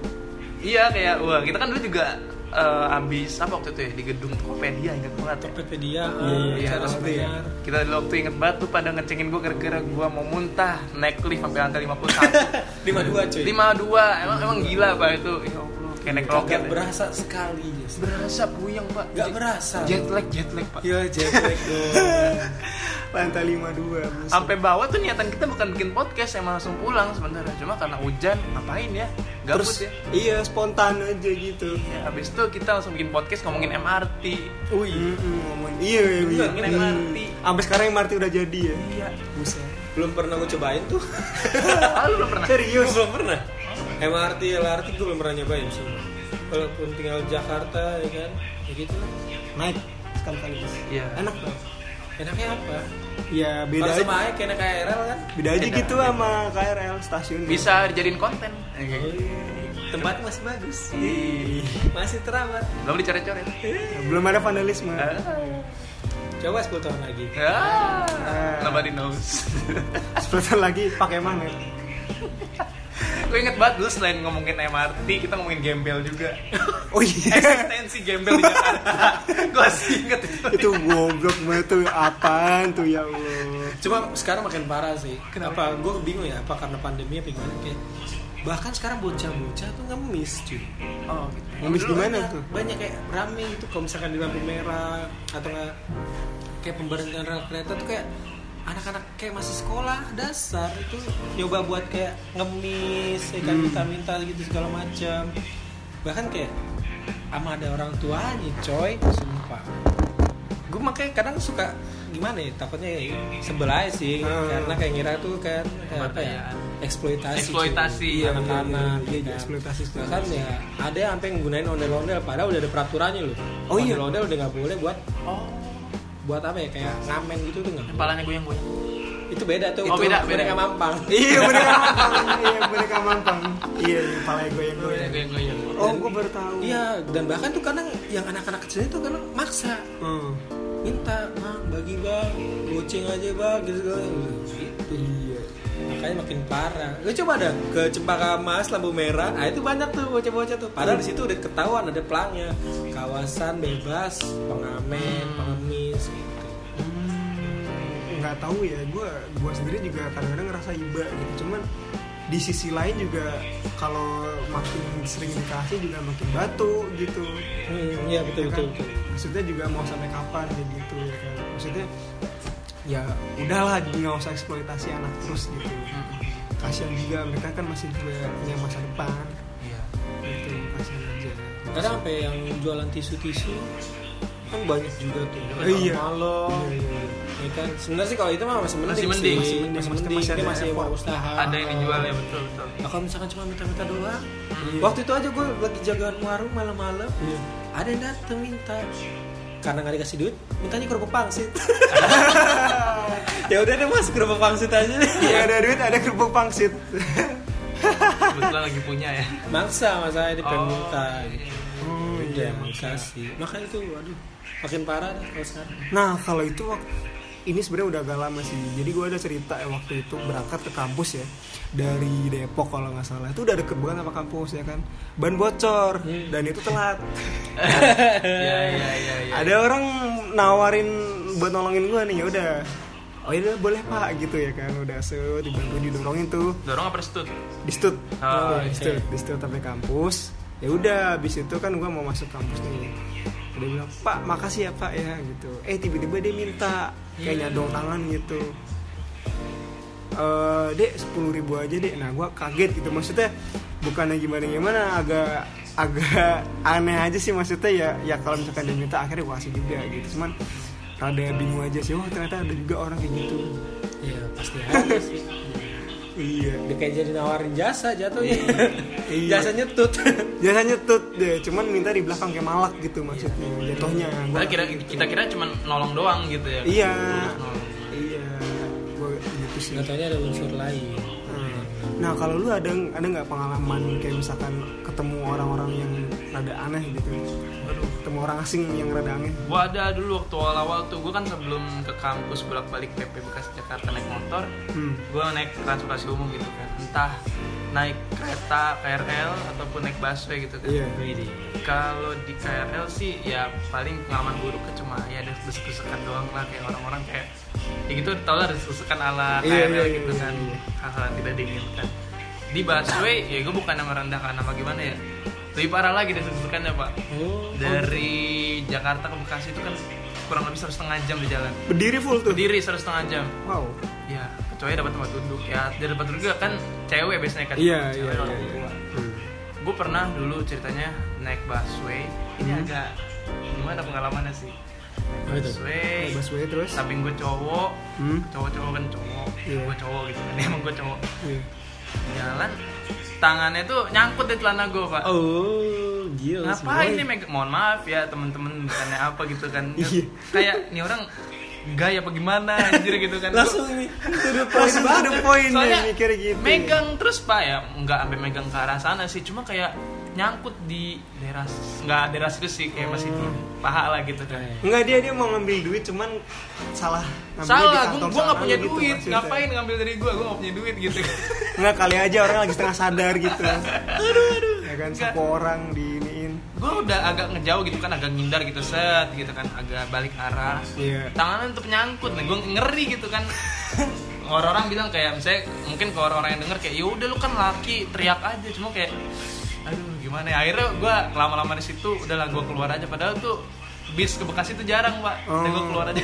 Speaker 1: iya kayak wah kita kan dulu juga eh, ambis apa waktu itu ya di gedung Tokopedia ingat banget ya.
Speaker 3: Tokopedia,
Speaker 2: Iya,
Speaker 1: Iya, terus
Speaker 2: iya.
Speaker 1: kita dulu waktu inget banget tuh pada ngecengin gue gara-gara gue mau muntah naik lift sampai angka 51
Speaker 3: lima dua <laughs> cuy.
Speaker 1: 52 emang emang gila pak itu ya Allah kayak naik roket
Speaker 3: Gak
Speaker 1: ya.
Speaker 3: berasa sekali ya.
Speaker 1: berasa puyeng pak
Speaker 3: Gak berasa.
Speaker 1: jet lag jet lag pak
Speaker 3: Iya jet <laughs> lag dong.
Speaker 2: <laughs> lantai 52 buset.
Speaker 1: sampai bawah tuh niatan kita bukan bikin podcast emang langsung pulang sebenarnya cuma karena hujan ngapain ya gabut
Speaker 2: Terus,
Speaker 1: ya
Speaker 2: iya spontan aja gitu
Speaker 1: Iya, abis itu kita langsung bikin podcast ngomongin MRT.
Speaker 3: Wih,
Speaker 2: Mm-mm, ngomongin iya iya iya
Speaker 1: Ngomongin MRT.
Speaker 2: sampai sekarang MRT udah jadi ya
Speaker 1: Iya. <laughs>
Speaker 2: buset
Speaker 3: belum pernah gue cobain tuh.
Speaker 1: Ah, lu belum pernah?
Speaker 2: serius
Speaker 3: belum pernah. MRT, LRT gue belum pernah nyobain sih. Walaupun tinggal di Jakarta ya kan, ya gitu lah.
Speaker 2: naik sekali kali bus
Speaker 1: Iya.
Speaker 2: enak dong
Speaker 3: Enaknya apa?
Speaker 2: ya beda
Speaker 3: Kalau
Speaker 2: aja
Speaker 3: sama aja kayak naik KRL kan.
Speaker 2: beda aja
Speaker 1: Beda.
Speaker 2: gitu sama KRL stasiun
Speaker 1: Bisa dijadiin konten.
Speaker 3: Tempat masih bagus.
Speaker 1: Ih,
Speaker 3: Masih terawat.
Speaker 1: Belum dicoret-coret.
Speaker 2: Iya. belum ada vandalisme
Speaker 3: Coba 10 tahun lagi.
Speaker 1: Ah. Nobody knows. <laughs>
Speaker 2: Sebentar lagi pakai mana
Speaker 1: Gue inget banget dulu selain ngomongin MRT, kita ngomongin gembel juga.
Speaker 2: oh iya
Speaker 1: Eksistensi gembel di Jakarta. Gue sih inget itu.
Speaker 2: itu goblok banget tuh apaan tuh ya Allah
Speaker 3: Cuma sekarang makin parah sih. Kenapa? Gue bingung ya. Apa karena pandemi apa gimana kayak. Bahkan sekarang bocah-bocah tuh ngemis cuy.
Speaker 1: Oh, gitu.
Speaker 2: ngemis
Speaker 3: Dulu
Speaker 2: di mana
Speaker 3: banyak-
Speaker 2: tuh
Speaker 3: Banyak kayak rame gitu kalau misalkan di lampu merah atau nggak kayak pemberhentian rel kereta tuh kayak anak-anak kayak masih sekolah dasar itu nyoba buat kayak ngemis, ya kan
Speaker 2: Hmm.
Speaker 3: minta-minta gitu segala macam. Bahkan kayak ama ada orang tuanya coy, sumpah. Gue makanya kadang suka gimana ya takutnya ya sebelah sih
Speaker 2: Hmm.
Speaker 3: karena kayak ngira tuh kan kayak apa ya
Speaker 1: Pemberdayaan.
Speaker 3: eksploitasi cuy.
Speaker 1: Eksploitasi,
Speaker 3: Iya,
Speaker 1: iya,
Speaker 3: anak-anak
Speaker 2: iya,
Speaker 3: gitu.
Speaker 2: iya, eksploitasi segala
Speaker 3: bahkan ya ada yang sampai nggunain ondel-ondel padahal udah ada peraturannya loh
Speaker 2: Oh, iya.
Speaker 3: ondel-ondel udah nggak boleh buat
Speaker 1: Oh,
Speaker 3: buat apa ya kayak ngamen gitu tuh nggak boleh.
Speaker 1: kepalanya goyang-goyang.
Speaker 3: itu beda tuh
Speaker 1: Oh,
Speaker 3: itu
Speaker 1: beda,
Speaker 3: boneka
Speaker 1: beda. <laughs>
Speaker 3: mampang
Speaker 2: iya boneka mampang iya boneka mampang iya iya, palanya goyang goyang
Speaker 1: Goyang-goyang.
Speaker 2: oh gue baru tahu
Speaker 3: iya dan bahkan tuh kadang yang anak-anak kecil itu kadang maksa
Speaker 2: Hmm.
Speaker 3: minta bang bagi bang goceng aja bang gitu segala gitu
Speaker 2: iya
Speaker 3: makanya makin parah lu coba ada ke Cempaka Mas lampu merah nah itu banyak tuh bocah-bocah tuh padahal di situ udah ketahuan ada pelangnya kawasan bebas pengamen pengemis gitu
Speaker 2: Hmm, nggak tahu ya gue gue sendiri juga kadang-kadang ngerasa iba gitu cuman di sisi lain juga kalau makin sering dikasih juga makin batu gitu
Speaker 3: hmm, iya betul
Speaker 2: Ya
Speaker 3: betul,
Speaker 2: kan?
Speaker 3: betul.
Speaker 2: maksudnya juga mau sampai kapan kayak gitu ya kan maksudnya ya udahlah nggak usah eksploitasi anak terus gitu kasihan juga mereka kan masih juga punya masa depan
Speaker 1: Iya.
Speaker 2: gitu kasihan aja
Speaker 3: kadang sampai ya, yang jualan tisu-tisu kan banyak juga tuh
Speaker 2: Oh, iya.
Speaker 3: malam
Speaker 2: Iya, iya, iya.
Speaker 3: ya kan sebenarnya sih kalau itu mah masih mending
Speaker 1: Masih
Speaker 3: sih.
Speaker 1: mending,
Speaker 3: masih
Speaker 1: masih
Speaker 3: mending,
Speaker 2: mending.
Speaker 3: masih,
Speaker 2: Masih ada
Speaker 3: mau
Speaker 2: effort.
Speaker 3: usaha
Speaker 1: Ada yang dijual ya betul-betul.
Speaker 3: Nah, kalau misalkan cuma minta-minta doang
Speaker 2: Iya.
Speaker 3: waktu itu aja gue lagi jagaan warung malam-malam
Speaker 2: Iya.
Speaker 3: ada yang dateng minta karena nggak dikasih duit mintanya kerupuk pangsit ya udah deh mas kerupuk pangsit aja deh
Speaker 2: Ya, <laughs> ada duit ada kerupuk pangsit
Speaker 1: Kebetulan lagi punya ya.
Speaker 3: maksa mas saya dia pengen
Speaker 1: Oh,
Speaker 3: kan minta
Speaker 1: iya.
Speaker 2: oh
Speaker 3: udah makasih makanya itu aduh makin parah dah kalau sekarang
Speaker 2: Nah kalau itu wak- ini sebenarnya udah agak lama sih. Jadi gue ada cerita ya, waktu itu berangkat ke kampus ya dari Depok kalau nggak salah. Itu udah deket banget sama kampus ya kan. Ban bocor dan itu telat.
Speaker 1: Iya, iya, iya, iya.
Speaker 2: Ada orang nawarin buat nolongin gue nih. Ya udah. Oh iya boleh pak gitu ya kan. Udah so dibantu didorongin tuh
Speaker 1: Dorong apa stut?
Speaker 2: di stud
Speaker 1: Ah,
Speaker 2: di
Speaker 3: oke.
Speaker 2: stud di stud sampai kampus ya udah habis itu kan gua mau masuk kampus nih dia bilang pak makasih ya pak ya gitu eh tiba-tiba dia minta kayak nyadong tangan gitu Eh, dek sepuluh ribu aja dek nah gua kaget gitu maksudnya bukannya gimana gimana agak agak aneh aja sih maksudnya ya ya kalau misalkan dia minta akhirnya gua kasih juga gitu cuman rada bingung aja sih wah ternyata ada juga orang kayak gitu
Speaker 3: iya pasti ada sih
Speaker 2: iya
Speaker 3: udah kayak jadi nawarin jasa jatuhnya
Speaker 2: Iya.
Speaker 3: jasa nyetut
Speaker 2: Jasa nyetut deh, cuman minta di belakang kayak malak
Speaker 1: Iya,
Speaker 2: gitu maksudnya. Jatuhnya. Gua-
Speaker 1: Kita kira kita kira cuma nolong doang gitu ya.
Speaker 2: Iya.
Speaker 1: Nolong.
Speaker 2: Iya, gitu sih
Speaker 3: nggak taunya ada unsur lain
Speaker 2: Hmm. Nah kalau lu ada ada nggak pengalaman kayak misalkan ketemu orang-orang yang rada aneh gitu,
Speaker 1: Aduh.
Speaker 2: ketemu orang asing yang rada aneh?
Speaker 1: Gua ada dulu waktu awal-awal tuh gua kan sebelum ke kampus bolak-balik PP bekas Jakarta naik motor,
Speaker 2: Hmm.
Speaker 1: gua naik transportasi umum gitu kan. Entah naik kereta KRL ataupun naik busway gitu kan.
Speaker 2: Iya.
Speaker 3: Widi.
Speaker 1: Kalau di KRL sih ya paling pengalaman buruknya cuma ya ada desek-desekan doang lah kayak orang-orang kayak ya gitu tau lah desek-desekan ala KRL
Speaker 2: Iya, iya,
Speaker 1: gitu
Speaker 2: iya,
Speaker 1: kan
Speaker 2: iya.
Speaker 1: hal-hal yang tidak diinginkan di busway ya gue bukan merendahkan apa gimana ya lebih parah lagi desek-desekannya pak
Speaker 3: oh
Speaker 1: dari Jakarta ke Bekasi itu kan kurang lebih satu setengah jam di jalan
Speaker 2: Berdiri full tuh.
Speaker 1: berdiri satu setengah jam
Speaker 2: Wow.
Speaker 1: ya kecuali dapat tempat duduk ya dari tempat duduk juga kan cewek biasanya kan
Speaker 2: Iya
Speaker 1: cewek
Speaker 2: iya
Speaker 1: orang
Speaker 2: iya.
Speaker 1: tua
Speaker 2: iya. Hmm.
Speaker 1: gue pernah dulu ceritanya naik busway ini
Speaker 2: Hmm.
Speaker 1: agak gimana pengalamannya sih naik
Speaker 3: Apa itu?
Speaker 1: busway
Speaker 2: Naik busway terus?
Speaker 1: samping gue cowok
Speaker 2: Hmm.
Speaker 1: cowok cowok kan cowok
Speaker 2: Iya.
Speaker 1: gue cowok gitu kan <laughs> emang gue cowok <laughs>
Speaker 2: Iya.
Speaker 1: jalan tangannya tuh nyangkut di celana gue pak
Speaker 3: oh
Speaker 2: iya,
Speaker 3: gila
Speaker 1: ngapain nih megang mohon maaf ya temen-temen bukannya apa gitu kan
Speaker 2: <laughs> Iya.
Speaker 1: kayak ini orang gay apa gimana anjir gitu kan Gua-
Speaker 3: langsung nih to the point
Speaker 2: Langsung
Speaker 3: banget.
Speaker 2: ada poin
Speaker 1: Soalnya
Speaker 2: nih mikir gitu.
Speaker 1: megang terus pak ya nggak sampai megang ke arah sana sih cuma kayak nyangkut di daerah nggak daerah situ sih kayak masih di paha lah gitu kan
Speaker 2: Enggak dia dia mau ngambil duit cuman salah. Iya, ngambilnya di
Speaker 1: salah gue
Speaker 2: kantong
Speaker 1: gue nggak
Speaker 2: sana
Speaker 1: punya
Speaker 2: gitu
Speaker 1: duit
Speaker 2: maksudnya.
Speaker 1: ngapain ngambil dari gue gue nggak punya duit gitu <laughs>
Speaker 2: Enggak kali aja orang lagi setengah sadar gitu. aduh aduh. Ya kan satu orang diiniin.
Speaker 1: gue udah agak ngejauh gitu kan agak ngindar gitu set gitu kan agak balik arah
Speaker 2: Iya.
Speaker 1: tangannya untuk nyangkut nah gue ngeri gitu
Speaker 2: <laughs>
Speaker 1: kan orang-orang bilang kayak misalnya mungkin ke orang-orang yang denger kayak ya udah lu kan laki teriak aja cuma kayak aduh gimana ya akhirnya gue lama-lama di situ udahlah gue keluar aja padahal tuh bis ke Bekasi tuh jarang pak dan gue
Speaker 2: Oh.
Speaker 1: keluar aja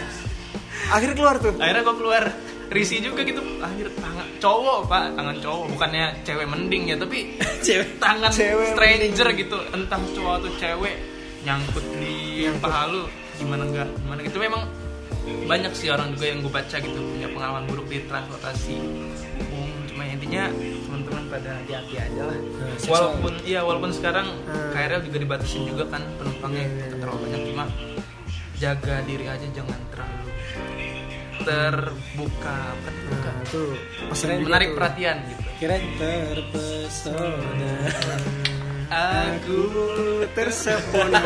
Speaker 2: Akhirnya keluar tuh.
Speaker 1: akhirnya gue keluar risi juga gitu akhir tangan cowok pak tangan cowok bukannya cewek mending ya tapi
Speaker 3: cewek
Speaker 1: tangan
Speaker 2: Cewek
Speaker 1: stranger gitu entah cowok atau cewek nyangkut di
Speaker 2: Nyangkut.
Speaker 1: paha lu gimana enggak gimana gitu memang banyak sih orang juga yang gue baca gitu punya pengalaman buruk di transportasi umum cuma intinya teman-teman pada hati-hati aja lah
Speaker 3: Nah, seksual.
Speaker 1: walaupun iya walaupun sekarang
Speaker 2: Hmm.
Speaker 1: KRL juga dibatasin juga kan penumpangnya
Speaker 2: Iya, iya, iya.
Speaker 1: terlalu banyak cuma jaga diri aja jangan terlalu terbuka apa terbuka
Speaker 2: Nah, itu pesan juga
Speaker 1: menarik
Speaker 2: tuh.
Speaker 1: perhatian gitu
Speaker 3: keren terpesona
Speaker 1: aku
Speaker 2: <laughs> tersepona.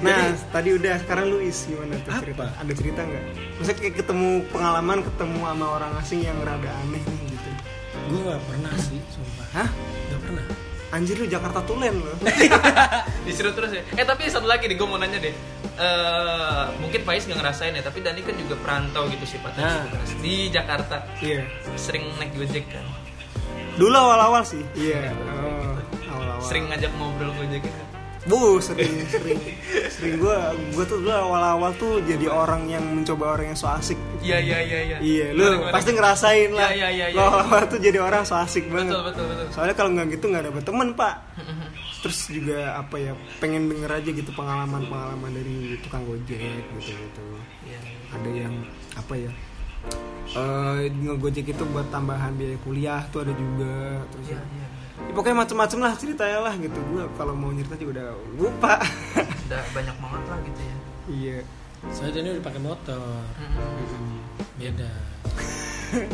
Speaker 2: nah, tadi udah sekarang lu isi mana tuh
Speaker 3: Apa?
Speaker 2: cerita? Ada cerita nggak? Maksudnya kayak ketemu pengalaman ketemu sama orang asing yang rada aneh nih gitu.
Speaker 3: gue gak pernah sih sumpah
Speaker 2: Hah?
Speaker 3: gak pernah
Speaker 2: Anjir lu Jakarta Tulen lo.
Speaker 1: <laughs> disuruh terus ya eh tapi satu lagi nih gue mau nanya deh Eh, mungkin Faiz nggak ngerasain ya tapi Dani kan juga perantau gitu sifatnya
Speaker 3: Nah.
Speaker 1: di Jakarta
Speaker 2: Iya.
Speaker 1: sering naik gojek kan
Speaker 2: Dulu awal-awal sih. Iya. Oh, awal-awal.
Speaker 1: sering ngajak ngobrol gojek kan
Speaker 2: Bu, sering sering sering gua gua tuh dulu awal-awal tuh jadi orang yang mencoba orang yang so asik.
Speaker 1: iya iya iya iya
Speaker 2: Iya, lu
Speaker 1: Gimana, gimana?
Speaker 2: pasti ngerasain lah.
Speaker 1: Iya, iya, iya, iya.
Speaker 2: Lu awal-awal tuh jadi orang so asik banget.
Speaker 1: betul betul betul
Speaker 2: Soalnya kalau nggak gitu nggak dapet temen
Speaker 1: <laughs>
Speaker 2: pak. Terus juga apa ya pengen denger aja gitu pengalaman-pengalaman dari tukang gojek gitu gitu.
Speaker 1: Iya.
Speaker 2: Ada yang apa ya? Eh ngegojek itu buat tambahan biaya kuliah tuh ada juga. Terus
Speaker 1: Iya,
Speaker 2: ya,
Speaker 1: iya.
Speaker 2: pokoknya macem-macem lah ceritanya lah gitu. Gua kalau mau nyerita juga udah lupa. <laughs>
Speaker 1: udah banyak banget lah gitu ya
Speaker 2: iya.
Speaker 3: soalnya dia udah pakai motor Hmm. beda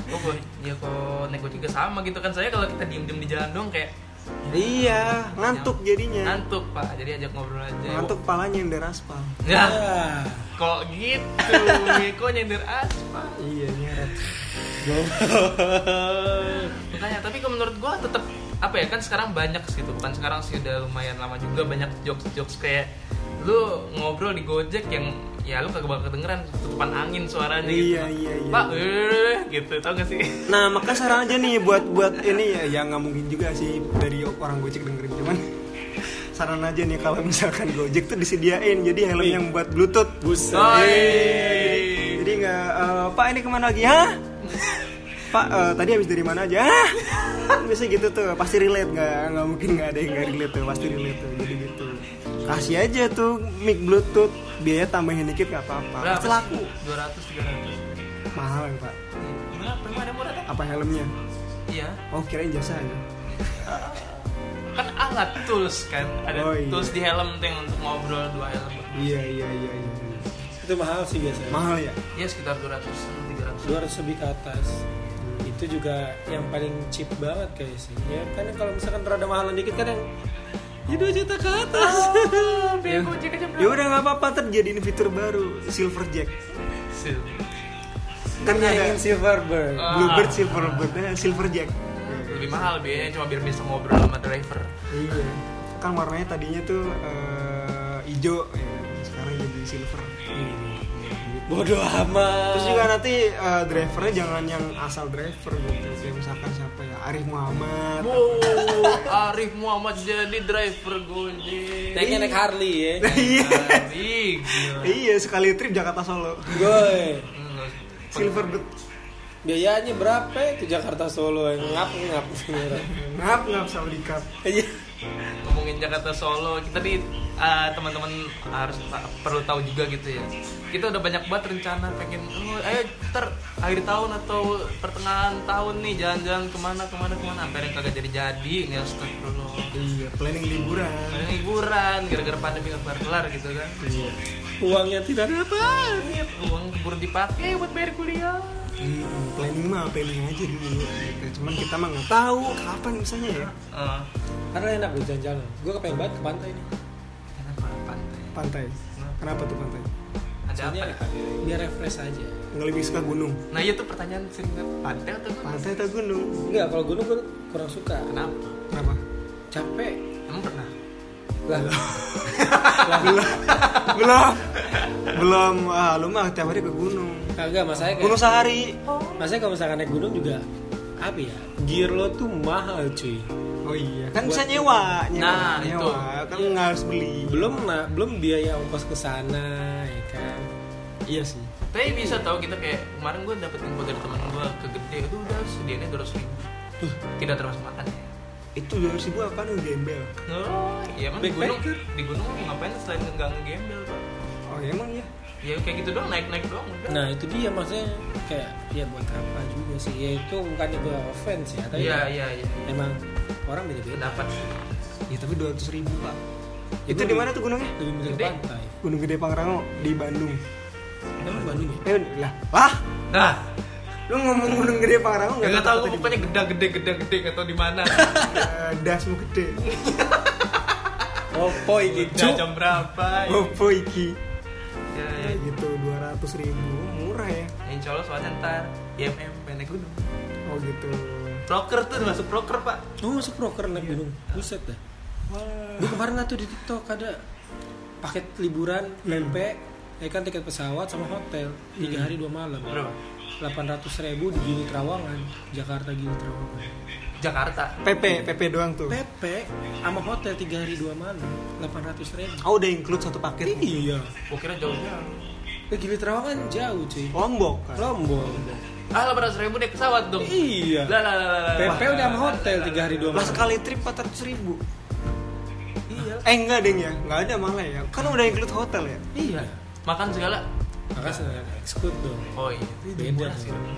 Speaker 1: oh gue ya kok naik gojek juga sama gitu kan saya kalau kita diem diem di jalan dong kayak
Speaker 2: Iya, ngantuk jadinya.
Speaker 1: ngantuk pak jadi ajak ngobrol aja
Speaker 2: Ngantuk palanya yang dari aspal.
Speaker 1: ya
Speaker 3: Ah,
Speaker 1: kok gitu <laughs> ya kok nyender aspal
Speaker 2: Iya, nyeret.
Speaker 1: Makanya, tapi kalau menurut gua tetap apa ya kan sekarang banyak sih itu bukan sekarang sih udah lumayan lama juga banyak jokes jokes kayak lu ngobrol di gojek yang ya lu kagak bakal kedengeran tutupan angin suaranya gitu
Speaker 2: Iya, iya, iya.
Speaker 1: pak eh, gitu tau gak sih
Speaker 2: Nah, maka saran aja nih buat buat ini ya, ya nggak mungkin juga sih dari orang Gojek dengerin cuman <laughs> saran aja nih kalau misalkan Gojek tuh disediain jadi helm yang buat Bluetooth.
Speaker 3: buset
Speaker 1: Oi.
Speaker 2: Jadi nggak eh, Pak ini kemana lagi? Hah? <laughs> Pak eh, tadi habis dari mana aja? Hah? <laughs> Biasanya gitu tuh, pasti relate nggak? Nggak mungkin nggak ada yang nggak relate tuh, pasti relate tuh. Jadi gitu. Kasih aja tuh mic Bluetooth, biaya tambahin dikit nggak apa-apa. Pasti laku.
Speaker 1: dua ratus tiga ratus
Speaker 2: Mahal ya, Pak.
Speaker 1: berapa emang ada murah kan
Speaker 2: Apa helmnya?
Speaker 1: iya
Speaker 2: Oh kirain jasa ya.
Speaker 1: kan alat tools kan ada
Speaker 2: Oh, iya.
Speaker 1: tools di helm tuh yang untuk ngobrol dua helm
Speaker 2: Iya iya iya. iya.
Speaker 3: itu mahal sih biasanya
Speaker 2: Mahal ya?
Speaker 1: ya sekitar Iya, dua ratus tiga ratus
Speaker 2: Iya.
Speaker 3: 200 lebih ke atas itu juga yang paling cheap banget kayak sih ya kan kalau misalkan rada mahalan dikit kan yang ya 2 juta ke atas
Speaker 2: Ya ya udah nggak apa-apa terjadi fitur baru silver jack. Kan
Speaker 3: Saya
Speaker 2: ada
Speaker 3: ingin silverbird
Speaker 1: Ah.
Speaker 2: bluebird silverbird nah, silver jack.
Speaker 1: lebih mahal biayanya cuma biar bisa ngobrol sama driver
Speaker 2: Iya. Kan warnanya tadinya tuh eh, hijau ya. sekarang jadi silver.
Speaker 3: bodoh amat
Speaker 2: Terus juga nanti eh, drivernya jangan yang asal driver gitu. Kayak misalkan siapa ya Arif Muhammad.
Speaker 1: wow Arif Muhammad jadi driver Gojek
Speaker 3: naiknya naik Harley ya
Speaker 2: Iya.
Speaker 1: Anjing, gila. Hmm,
Speaker 2: Iya sekali trip Jakarta Solo.
Speaker 3: gue
Speaker 2: Silverbird.
Speaker 3: biayanya berapa ya ke Jakarta Solo ya? ngap ngap
Speaker 2: Ngap ngap sama dikap.
Speaker 3: Iya.
Speaker 1: ngomongin Jakarta Solo kita nih eh, teman-teman harus ta- perlu tahu juga gitu ya kita udah banyak banget rencana pengen "Oh, ayo ter akhir tahun atau pertengahan tahun nih jalan-jalan kemana kemana kemana sampai yang kagak jadi jadi nih astagfirullah
Speaker 2: Iya planning liburan.
Speaker 1: Paling liburan gara-gara pandemi nggak kelar-kelar gitu kan
Speaker 2: Iya.
Speaker 3: uangnya tidak ada apa
Speaker 1: Ingat, uang keburu dipakai buat bayar kuliah
Speaker 2: Hmm, planning mah planning aja dulu gitu. Cuman kita mah nggak tahu kapan misalnya ya.
Speaker 1: Eh,
Speaker 3: karena enak loh jalan-jalan gue kepengen banget ke pantai nih
Speaker 1: kenapa pantai
Speaker 2: Pantai. Kenapa tuh pantai?
Speaker 1: ada apa
Speaker 3: soalnya
Speaker 1: ya?
Speaker 3: biar refresh aja
Speaker 2: Nggak lebih suka gunung.
Speaker 1: nah itu pertanyaan sering banget. pantai atau gunung?
Speaker 2: Pantai atau gunung?
Speaker 3: enggak kalau gunung gue kurang suka
Speaker 1: kenapa
Speaker 2: Kenapa?
Speaker 3: capek
Speaker 1: emang pernah
Speaker 3: lah
Speaker 2: <laughs> belum, belum, belum. Ah, lu mah tiap hari ke gunung.
Speaker 3: kagak masanya kayak
Speaker 2: Gunung sehari.
Speaker 3: masanya kalau misalkan naik gunung juga apa ya gear lo tuh mahal cuy
Speaker 2: Oh iya. Kan bisa nyewa, nyewa,
Speaker 1: Nah, itu.
Speaker 2: nyewa. Kan nggak harus beli.
Speaker 3: belum nah, belum biaya ongkos ke sana ya kan
Speaker 2: Iya sih.
Speaker 1: Tapi bisa tau kita kayak kemarin gue dapet info dari teman gue ke gede itu udah sedianya dua ribu. Tidak termasuk makan ya.
Speaker 2: Itu dua ribu apa nih gembel?
Speaker 1: Oh, iya emang di gunung
Speaker 3: Backpacker.
Speaker 1: di gunung ngapain selain nggak ngegembel pak?
Speaker 2: Oh emang ya.
Speaker 1: Ya kayak gitu doang naik naik doang udah.
Speaker 3: Nah itu dia maksudnya kayak ya buat apa juga sih ya itu bukan gue offense ya tapi
Speaker 1: Iya iya iya. iya.
Speaker 3: emang orang beda-beda
Speaker 1: Pendapat
Speaker 2: Ya tapi dua ratus ribu pak.
Speaker 3: Ya,
Speaker 2: itu
Speaker 3: gua
Speaker 2: di
Speaker 3: lebih-
Speaker 2: mana tuh gunungnya?
Speaker 3: lebih mudah ke
Speaker 1: Gede.
Speaker 3: pantai
Speaker 2: Gunung Gede Pangrango di Bandung.
Speaker 3: emang Bandung ya
Speaker 2: Eh lah, lah.
Speaker 1: Nah,
Speaker 2: Lu ngomong Gunung Gede Pangrango
Speaker 1: nggak tahu gue
Speaker 2: tadi?
Speaker 1: pokoknya gede gede gede gede nggak tahu di
Speaker 3: <laughs>
Speaker 1: mana.
Speaker 2: Eh, dasmu gede.
Speaker 3: oh boy
Speaker 1: Udah jam berapa? Ya,
Speaker 2: Opo iki.
Speaker 1: ya,
Speaker 2: Ya gitu 200 ribu murah ya.
Speaker 1: ya. Insya Allah soalnya ntar IMM pengen naik gunung.
Speaker 2: Oh gitu.
Speaker 1: Proker tuh masuk proker pak.
Speaker 3: lu masuk proker
Speaker 1: Iya.
Speaker 3: naik gunung buset dah gue kemarin lah tuh di tiktok ada paket liburan lempek ya kan tiket pesawat sama hotel
Speaker 1: Hmm.
Speaker 3: tiga hari dua malam
Speaker 1: Berapa?
Speaker 3: delapan ratus ribu di Gili Trawangan Jakarta Gili Trawangan
Speaker 1: Jakarta.
Speaker 2: PP, PP doang tuh.
Speaker 3: PP sama hotel tiga hari dua malam delapan ratus ribu
Speaker 2: Oh udah include satu paket.
Speaker 3: iya
Speaker 1: Gue kira jauh jauh.
Speaker 3: Eh, Gili Trawangan jauh cuy.
Speaker 2: Lombok kan.
Speaker 3: Lombok.
Speaker 1: Ah, 800 ribu naik pesawat dong.
Speaker 3: Iya.
Speaker 1: Lah lah lah lah, lah.
Speaker 3: PP udah sama hotel tiga hari dua
Speaker 2: Lah
Speaker 3: malam.
Speaker 2: sekali trip 400 ribu.
Speaker 1: Iya.
Speaker 2: Eh enggak deng ya, enggak ada malah ya. Kan udah include hotel ya.
Speaker 3: Iya.
Speaker 1: Makan segala.
Speaker 3: Maka sedangkan ekskut dong.
Speaker 1: Oh iya.
Speaker 3: Beda.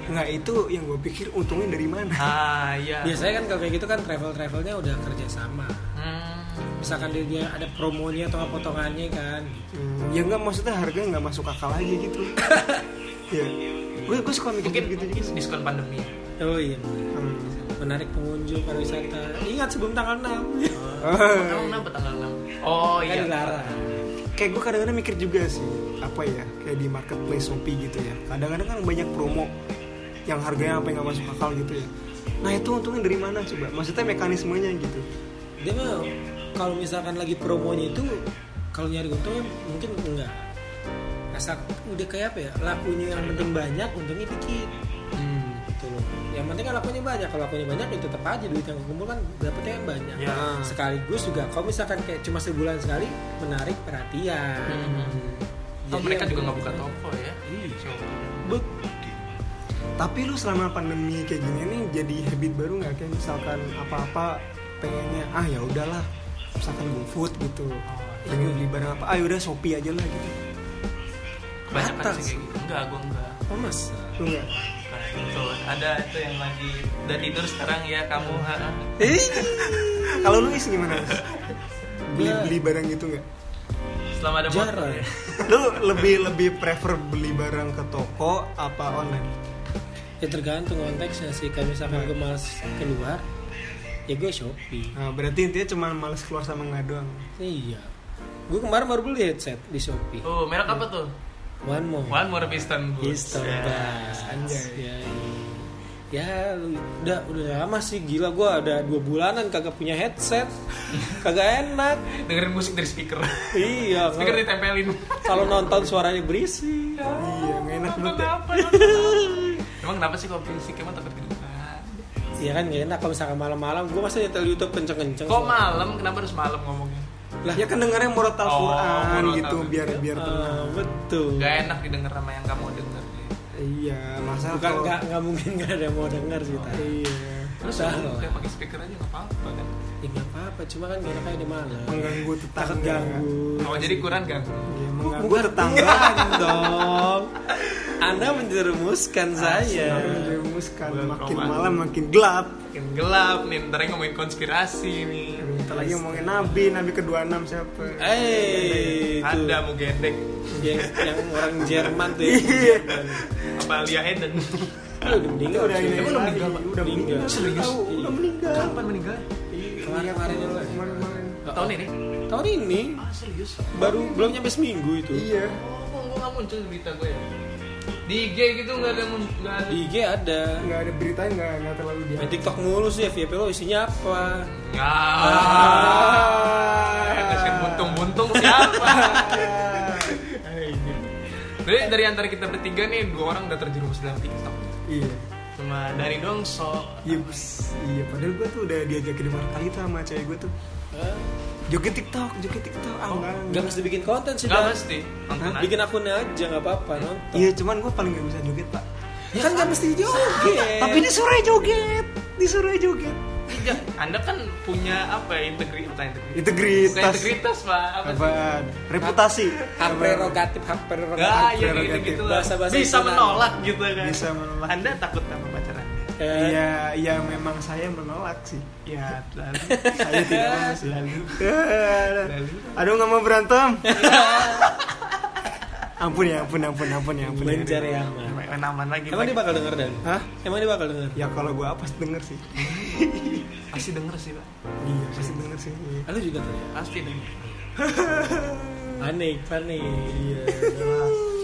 Speaker 2: Enggak itu yang gue pikir untungnya dari mana.
Speaker 1: Ah iya.
Speaker 3: Biasanya kan kalau kayak gitu kan travel travelnya udah kerja sama.
Speaker 1: Hmm.
Speaker 3: Misalkan dia- dia ada promonya atau potongannya kan.
Speaker 2: Hmm, ya enggak maksudnya harga enggak masuk akal aja <laughs> gitu. ya. Gue gue suka mikir
Speaker 1: Mungkin
Speaker 2: gitu
Speaker 1: mungkin
Speaker 2: gitu.
Speaker 1: diskon pandemi.
Speaker 3: Oh iya. benar.
Speaker 2: Hmm.
Speaker 3: Menarik pengunjung pariwisata. Ingat sebelum tanggal 6.
Speaker 2: Oh Hmm.
Speaker 1: Emang kenapa tanggal 6? Oh
Speaker 3: Kan
Speaker 1: iya.
Speaker 3: dilarang.
Speaker 2: kayak gue kadang-kadang mikir juga sih apa ya kayak di marketplace Shopee gitu ya kadang-kadang kan banyak promo yang harganya apa yang nggak masuk akal gitu ya nah itu untungnya dari mana coba maksudnya mekanismenya gitu
Speaker 3: Dia mah kalau misalkan lagi promonya itu kalau nyari untung mungkin enggak. Asal udah kayak apa ya? Lakunya yang penting banyak, untungnya dikit.
Speaker 1: Hmm.
Speaker 3: gitu loh yang penting kan lakunya banyak kalau lakunya banyak ya tetap aja duit yang kekumpul kan dapetnya yang banyak
Speaker 1: Ya.
Speaker 2: Nah.
Speaker 3: sekaligus juga kalau misalkan kayak cuma sebulan sekali menarik perhatian
Speaker 1: Hmm. Oh,
Speaker 3: Jadi
Speaker 1: mereka
Speaker 3: yang-
Speaker 1: juga nggak buka toko ya?
Speaker 3: Iya.
Speaker 1: Coba.
Speaker 2: But, tapi lu selama pandemi kayak gini nih jadi habit baru nggak kayak misalkan apa-apa pengennya ah ya udahlah misalkan GoFood gitu pengen beli barang apa ah udah Shopee aja lah gitu
Speaker 1: Kebanyakan
Speaker 3: Atas.
Speaker 1: sih kayak gitu. Enggak, gue enggak.
Speaker 3: oh mas
Speaker 2: lu nggak
Speaker 1: Nah, itu ada itu yang lagi udah tidur sekarang ya kamu ha.
Speaker 3: eh
Speaker 2: <laughs> kalau lu is gimana Is? beli
Speaker 3: Gua-
Speaker 2: beli barang gitu nggak
Speaker 1: Selama ada motor
Speaker 3: Jarang.
Speaker 1: ya.
Speaker 2: lu lebih lebih prefer beli barang ke toko apa online
Speaker 3: ya tergantung konteksnya sih kalau misalkan gue males keluar ya gue shopee
Speaker 2: Nah, berarti intinya cuma males keluar sama nggak doang.
Speaker 3: iya gue kemarin baru beli headset di shopee
Speaker 1: Oh, merek apa tuh?
Speaker 3: one more
Speaker 1: One More iya. Piston Boots.
Speaker 3: Pistol
Speaker 1: Ya.
Speaker 3: Bass. Ya, iya. ya lu- udah udah lama sih gila gue ada dua bulanan kagak punya headset kagak enak
Speaker 1: Dengerin musik dari speaker. <laughs>
Speaker 3: iya
Speaker 1: speaker
Speaker 3: kalau-
Speaker 1: ditempelin.
Speaker 3: kalau nonton suaranya berisik
Speaker 2: Iya, nggak enak
Speaker 1: Nonton
Speaker 2: banget.
Speaker 1: apa? nonton apa? <laughs> Emang kenapa sih kalau fisik emang takut kedengaran?
Speaker 3: Iya kan gak enak kalau misalkan malam-malam gue masa nyetel YouTube kenceng-kenceng.
Speaker 1: Kok
Speaker 3: soalnya.
Speaker 1: malam? Kenapa harus malam ngomongnya?
Speaker 2: Lah, ya kan dengarnya murat Al-Qur'an
Speaker 1: Oh, murat
Speaker 2: gitu
Speaker 1: Al-Qur'an.
Speaker 2: biar biar tenang.
Speaker 3: Ah, betul.
Speaker 1: Gak enak didengar sama yang kamu denger.
Speaker 2: Iya, masa
Speaker 3: Bukan
Speaker 2: kalau-
Speaker 3: nggak nggak mungkin nggak ada yang mau denger sih tadi.
Speaker 2: Iya.
Speaker 1: Terus
Speaker 3: Salah.
Speaker 1: kamu kayak pakai speaker aja nggak apa-apa kan?
Speaker 3: Ya nggak apa-apa, cuma kan gak enak kayak di malam.
Speaker 2: Mengganggu tetangga.
Speaker 3: Takut ganggu.
Speaker 1: Oh jadi Quran kan?
Speaker 2: Iya, mengganggu
Speaker 3: Bukan
Speaker 2: tetangga. <laughs>
Speaker 3: dong. Anda menjerumuskan saya.
Speaker 2: Menjerumuskan
Speaker 1: Bulan
Speaker 2: kan, makin
Speaker 1: Ramadan.
Speaker 2: malam makin gelap.
Speaker 1: Makin gelap nih, ntar yang ngomongin konspirasi nih.
Speaker 2: Bentar lagi ngomongin Nabi, Nabi ke-26 siapa?
Speaker 3: Eh, itu
Speaker 1: Ada mau gendek
Speaker 3: yang, yang orang Jerman tuh. ya.
Speaker 2: Iya.
Speaker 1: apa Lia Eden?
Speaker 3: Lu udah meninggal.
Speaker 2: Udah ini.
Speaker 3: cuy.
Speaker 1: Emang udah meninggal, Pak?
Speaker 2: Udah meninggal.
Speaker 3: Meninggal.
Speaker 2: Udah tahu, Udah meninggal.
Speaker 1: Kapan meninggal?
Speaker 3: Kemarin-kemarin ya, Pak?
Speaker 2: Kemarin-kemarin.
Speaker 1: Tahun ini?
Speaker 3: Tahun ini
Speaker 1: Ah serius?
Speaker 3: baru belum nyampe seminggu itu.
Speaker 2: Iya.
Speaker 1: Oh, kok gue nggak muncul berita gue ya? Di IG gitu nggak ada mun- nggak ada.
Speaker 3: Di IG ada.
Speaker 2: Enggak ada beritanya enggak enggak terlalu dia.
Speaker 3: Main TikTok mulu sih FYP lo isinya apa?
Speaker 1: Ah. Eh, Kasian buntung-buntung siapa?
Speaker 2: Eh, iya.
Speaker 1: Jadi dari antara kita bertiga nih dua orang udah terjerumus dalam TikTok.
Speaker 2: Iya.
Speaker 1: Cuma dari dong so
Speaker 2: Yups. Iya, padahal gue tuh udah diajakin lima kali tuh sama cewek gue tuh. Joget TikTok, joget Tiktok. Ah, enggak,
Speaker 3: Gak mesti bikin konten sih,
Speaker 1: nggak
Speaker 3: Dan.
Speaker 1: mesti nonton aja.
Speaker 3: Bikin akunnya aja nggak apa-apa nonton.
Speaker 2: Iya, cuman gue paling gak bisa joget, Pak.
Speaker 3: Kan nggak mesti joget.
Speaker 2: Tapi disuruh joget, disuruh joget.
Speaker 1: Iya, Anda kan punya apa ya integri- bukan integritas? Bukan
Speaker 2: Integritas.
Speaker 1: integritas pak apa sih?
Speaker 2: Apaan? Reputasi.
Speaker 3: hak prerogatif, hak
Speaker 1: Gak,
Speaker 2: Ah,
Speaker 3: prerogatif.
Speaker 2: iya.
Speaker 1: ya gitu gitu lah.
Speaker 3: Bahasa-bahasa
Speaker 1: Bisa
Speaker 3: Cina.
Speaker 1: menolak gitu kan.
Speaker 2: Bisa menolak.
Speaker 1: Anda takut sama pacar Anda?
Speaker 3: Eh,
Speaker 2: Iya, iya memang saya menolak sih.
Speaker 1: Ya,
Speaker 3: <laughs>
Speaker 1: lalu.
Speaker 2: Saya tidak mau sih.
Speaker 1: Lalu. Lalu.
Speaker 2: Aduh nggak mau
Speaker 3: <laughs>
Speaker 2: berantem. ampun ya, ampun, ampun, ampun ya, ampun. ya.
Speaker 3: Mencari aman.
Speaker 1: Main aman lagi.
Speaker 3: Emang dia bakal denger Dan?
Speaker 2: Hah?
Speaker 3: Emang dia bakal denger?
Speaker 2: Ya kalau gue apa denger sih.
Speaker 1: Pasti denger sih pak.
Speaker 2: Iya, pasti denger
Speaker 3: <laughs>
Speaker 2: sih. Iya.
Speaker 3: Ah, Lu juga tuh ya?
Speaker 1: Pasti denger.
Speaker 3: Panik, panik. Iya.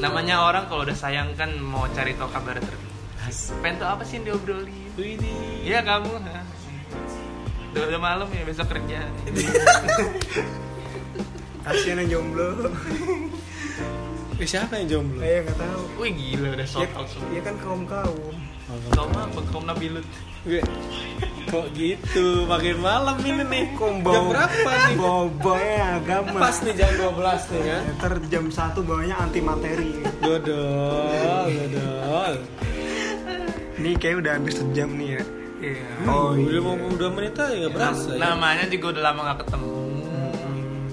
Speaker 1: Namanya orang kalau udah sayang kan mau cari tau kabar terbaru. Pengen tau apa sih yang diobrolin?
Speaker 3: ini.
Speaker 1: Iya kamu. ha? Udah, udah malam ya besok kerja.
Speaker 2: Kasian yang
Speaker 3: <laughs>
Speaker 2: jomblo.
Speaker 3: Eh, siapa yang jomblo?
Speaker 2: Saya nggak tahu.
Speaker 1: Wih gila udah
Speaker 2: Ya,
Speaker 1: sold out semua.
Speaker 2: ya kan kaum kaum.
Speaker 1: Kau mah bengkong Nabi Lut.
Speaker 3: Gue kok gitu? Makin malam ini nih.
Speaker 2: Kombo.
Speaker 3: Jam berapa nih?
Speaker 2: Bobo ya agama.
Speaker 3: Pas nih jam 12 nih kan.
Speaker 2: Ntar jam 1 bawahnya anti materi.
Speaker 3: Dodol, dodol.
Speaker 2: Ini kayak udah hampir sejam nih ya.
Speaker 1: Iya.
Speaker 2: Oh,
Speaker 3: udah mau udah menit aja nggak berasa. ya.
Speaker 1: Namanya juga udah lama gak ketemu.
Speaker 2: Hmm,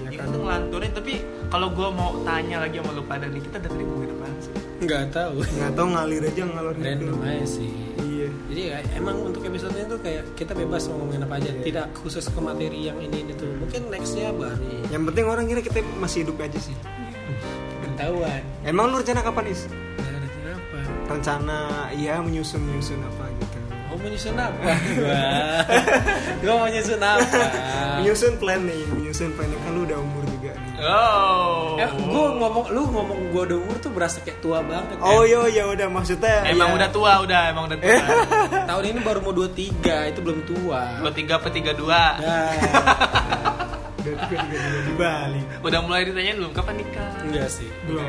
Speaker 2: ya
Speaker 1: Itu
Speaker 2: kan.
Speaker 1: tuh ngelanturin tapi kalau gue mau tanya lagi sama lu pada nih kita gitu, udah tadi ngomongin apa sih?
Speaker 3: Nggak tahu.
Speaker 2: Nggak tahu ngalir aja ngalor gitu.
Speaker 3: Random aja sih.
Speaker 2: Iya.
Speaker 3: Jadi ya, emang untuk episode ini tuh kayak kita bebas mau ngomongin apa aja, tidak khusus ke materi yang ini itu. Mungkin nextnya baru
Speaker 2: Yang penting orang kira kita masih hidup aja sih.
Speaker 3: ketahuan.
Speaker 2: Emang lu rencana kapan is?
Speaker 3: Nah, ada kenapa?
Speaker 2: Rencana ya menyusun menyusun apa gitu.
Speaker 3: Mau menyusun apa? <laughs> Gua, gua mau nyusun apa?
Speaker 1: Ah.
Speaker 2: Menyusun planning, menyusun planning kan lu udah umur juga nih.
Speaker 1: Oh.
Speaker 3: Eh, gua ngomong, lu ngomong gua udah umur tuh berasa kayak tua banget. ya.
Speaker 2: Oh iya iya udah maksudnya.
Speaker 1: emang
Speaker 2: ya.
Speaker 1: udah tua udah emang udah tua.
Speaker 3: Tahun ini baru mau 23, itu belum tua.
Speaker 1: 23 apa 32
Speaker 3: Nah,
Speaker 2: udah tiga tiga tiga di Bali.
Speaker 1: Udah mulai ditanyain belum kapan nikah?
Speaker 3: enggak sih.
Speaker 2: Belum.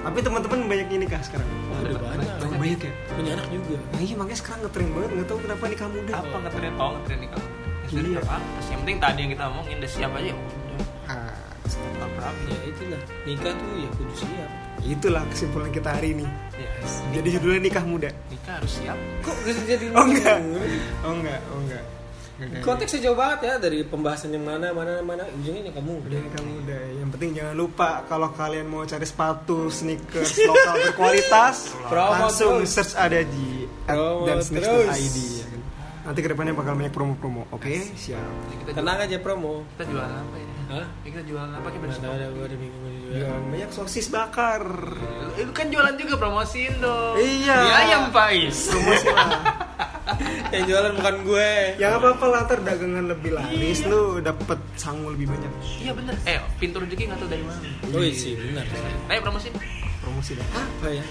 Speaker 2: Tapi teman-teman banyak ini kah sekarang?
Speaker 3: Waduh banyak.
Speaker 2: Banyak, banyak ya.
Speaker 3: Punya anak juga.
Speaker 2: Nah, iya makanya sekarang ngetren banget nggak tahu kenapa nikah muda.
Speaker 1: Apa ngetren oh ngetren nikah? Ya sudah,
Speaker 2: Iya.
Speaker 1: nggak apa-apa sih. Yang penting tadi yang kita omongin udah siap aja. ya udah.
Speaker 2: Ah,
Speaker 1: Nggak apa-apa.
Speaker 3: Ya itulah. Nikah tuh ya kudu siap.
Speaker 2: itulah kesimpulan kita hari ini.
Speaker 1: Ya,
Speaker 2: Jadi judulnya nikah muda.
Speaker 1: nikah harus siap.
Speaker 3: Kok bisa jadi
Speaker 2: Oh enggak. Oh enggak, oh enggak. Enggak, gitu. enggak.
Speaker 3: Konteksnya jauh banget ya dari pembahasan yang mana mana mana ujungnya nih kamu.
Speaker 2: Udah nikah muda. Yang penting jangan lupa kalau kalian mau cari sepatu, sneakers lokal berkualitas,
Speaker 3: <laughs> Promo
Speaker 2: langsung
Speaker 3: terus.
Speaker 2: search ada di at
Speaker 3: Promo
Speaker 2: dan sneakers
Speaker 3: terus.
Speaker 2: ID. ya kan. Nanti kedepannya bakal banyak promo-promo. Oke, siap.
Speaker 1: Jadi kita
Speaker 3: Tenang aja promo.
Speaker 1: kita jualan apa ya?
Speaker 3: Hah?
Speaker 1: Ya, kita jualan apa kita
Speaker 3: Nggak tahu
Speaker 1: bersyukur.
Speaker 3: ada gue udah bingung juga. ya.
Speaker 2: Jualan banyak sosis bakar.
Speaker 1: Itu kan jualan juga promosiin dong.
Speaker 2: Iya.
Speaker 1: Beli ayam Pais.
Speaker 2: Promosi lah.
Speaker 3: <laughs> yang jualan bukan gue
Speaker 2: ya nggak apa-apa lah ntar dagangan lebih laris
Speaker 3: Iya.
Speaker 2: lu dapet sangu lebih banyak.
Speaker 1: Iya bener. Eh, pintu rezeki nggak tahu dari mana.
Speaker 3: oh sih benar
Speaker 1: Ayo promosiin.
Speaker 2: Promosi dah.
Speaker 3: apa ya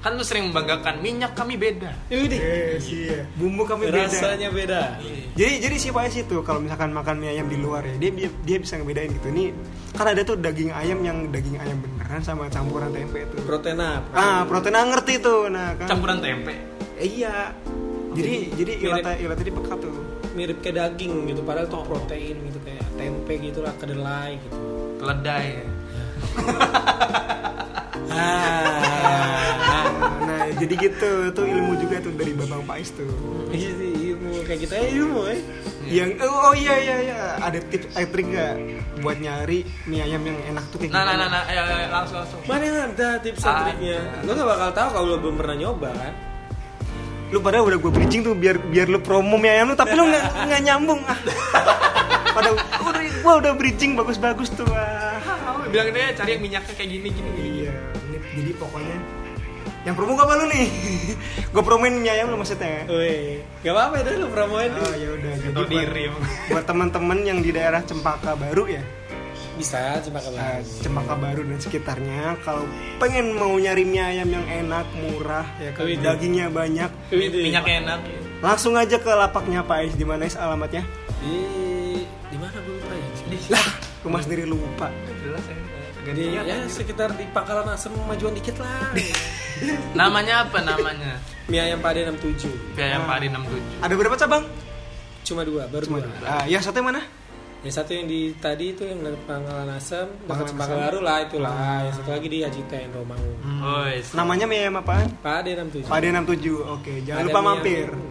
Speaker 1: Kan lu sering membanggakan minyak kami beda.
Speaker 3: Udih.
Speaker 2: Yes, iya. Bumbu kami beda.
Speaker 3: rasanya beda
Speaker 2: Jadi jadi sih Pak sih tuh kalau misalkan makan mie ayam di luar ya dia dia, dia bisa ngebedain gitu nih kan ada tuh daging ayam yang daging ayam beneran sama campuran tempe itu.
Speaker 3: protein apa
Speaker 2: ah protein ah, ngerti tuh nah kan
Speaker 1: Campuran tempe.
Speaker 2: Eh, iya jadi jadi
Speaker 3: Mirip.
Speaker 2: ilata ilata di peka tuh
Speaker 3: mirip kayak daging gitu padahal tuh protein gitu kayak tempe gitu lah kedelai gitu
Speaker 1: Keledai.
Speaker 3: ah
Speaker 2: nah jadi gitu tuh ilmu juga tuh dari babang Pais tuh
Speaker 3: Iya sih, ilmu kayak kita
Speaker 1: Iya,
Speaker 3: ya ilmu ya.
Speaker 2: yang oh, oh, iya iya iya ada tips eh, trik nggak buat nyari mie ayam yang enak tuh kayak
Speaker 1: Nah, nah,
Speaker 2: gimana?
Speaker 1: nah, nah, ayo, ayo, ayo, langsung, langsung.
Speaker 3: Mana ada tips dan
Speaker 1: Ada.
Speaker 3: triknya? Lo gak bakal tahu kalau lo belum pernah nyoba kan?
Speaker 2: lu padahal udah gue bridging tuh biar biar lu promo mie ayam lu tapi lu nggak nggak nyambung ah pada udah gua udah bridging bagus-bagus tuh ah
Speaker 1: Ah, Bilang dia cari yang minyaknya kayak gini, gini, gini.
Speaker 2: iya ini- jadi pokoknya yang promo gak apa lu nih gue promoin mie ayam lu maksudnya
Speaker 3: Weh, gak apa-apa deh lo promoin
Speaker 2: oh ya udah jadi
Speaker 1: Tahu
Speaker 2: buat,
Speaker 1: diri. emang.
Speaker 2: buat teman-teman yang di daerah Cempaka Baru ya
Speaker 3: Bisa,
Speaker 2: eh,
Speaker 3: coba kabar
Speaker 2: Cempaka Baru dan sekitarnya kalau pengen mau nyari mie ayam yang enak murah ya kan,
Speaker 3: Widih.
Speaker 2: dagingnya banyak
Speaker 3: Gitu ya.
Speaker 1: Minyaknya enak.
Speaker 2: langsung aja ke lapaknya Pak Ais di mana Ais alamatnya
Speaker 3: Di di mana gue lupa ya? Di
Speaker 2: rumah sendiri lupa
Speaker 1: Jelas ya. Agak
Speaker 3: di
Speaker 1: niat.
Speaker 3: ya sekitar di Pangkalan Asem majuan dikit lah.
Speaker 1: Namanya apa namanya?
Speaker 3: Mie ayam Pade 67.
Speaker 1: Biaya Pari 67.
Speaker 2: Ada berapa cabang?
Speaker 3: Cuma dua, baru
Speaker 2: Cuma
Speaker 3: dua.
Speaker 2: dua. Ah, yang satu mana?
Speaker 3: Yang satu yang di tadi itu yang dari Pangkalan Asem,
Speaker 2: Pangkalan
Speaker 3: dekat Cempaka
Speaker 2: Asem.
Speaker 3: Baru lah itulah.
Speaker 1: Ah.
Speaker 3: Yang satu lagi di Haji TN Romangun.
Speaker 1: Oi,
Speaker 2: Namanya mie ayam apaan?
Speaker 3: Pade 67.
Speaker 2: Pade 67. Oke, jangan
Speaker 3: Ada
Speaker 2: lupa
Speaker 3: mie
Speaker 2: mampir.
Speaker 3: ayam.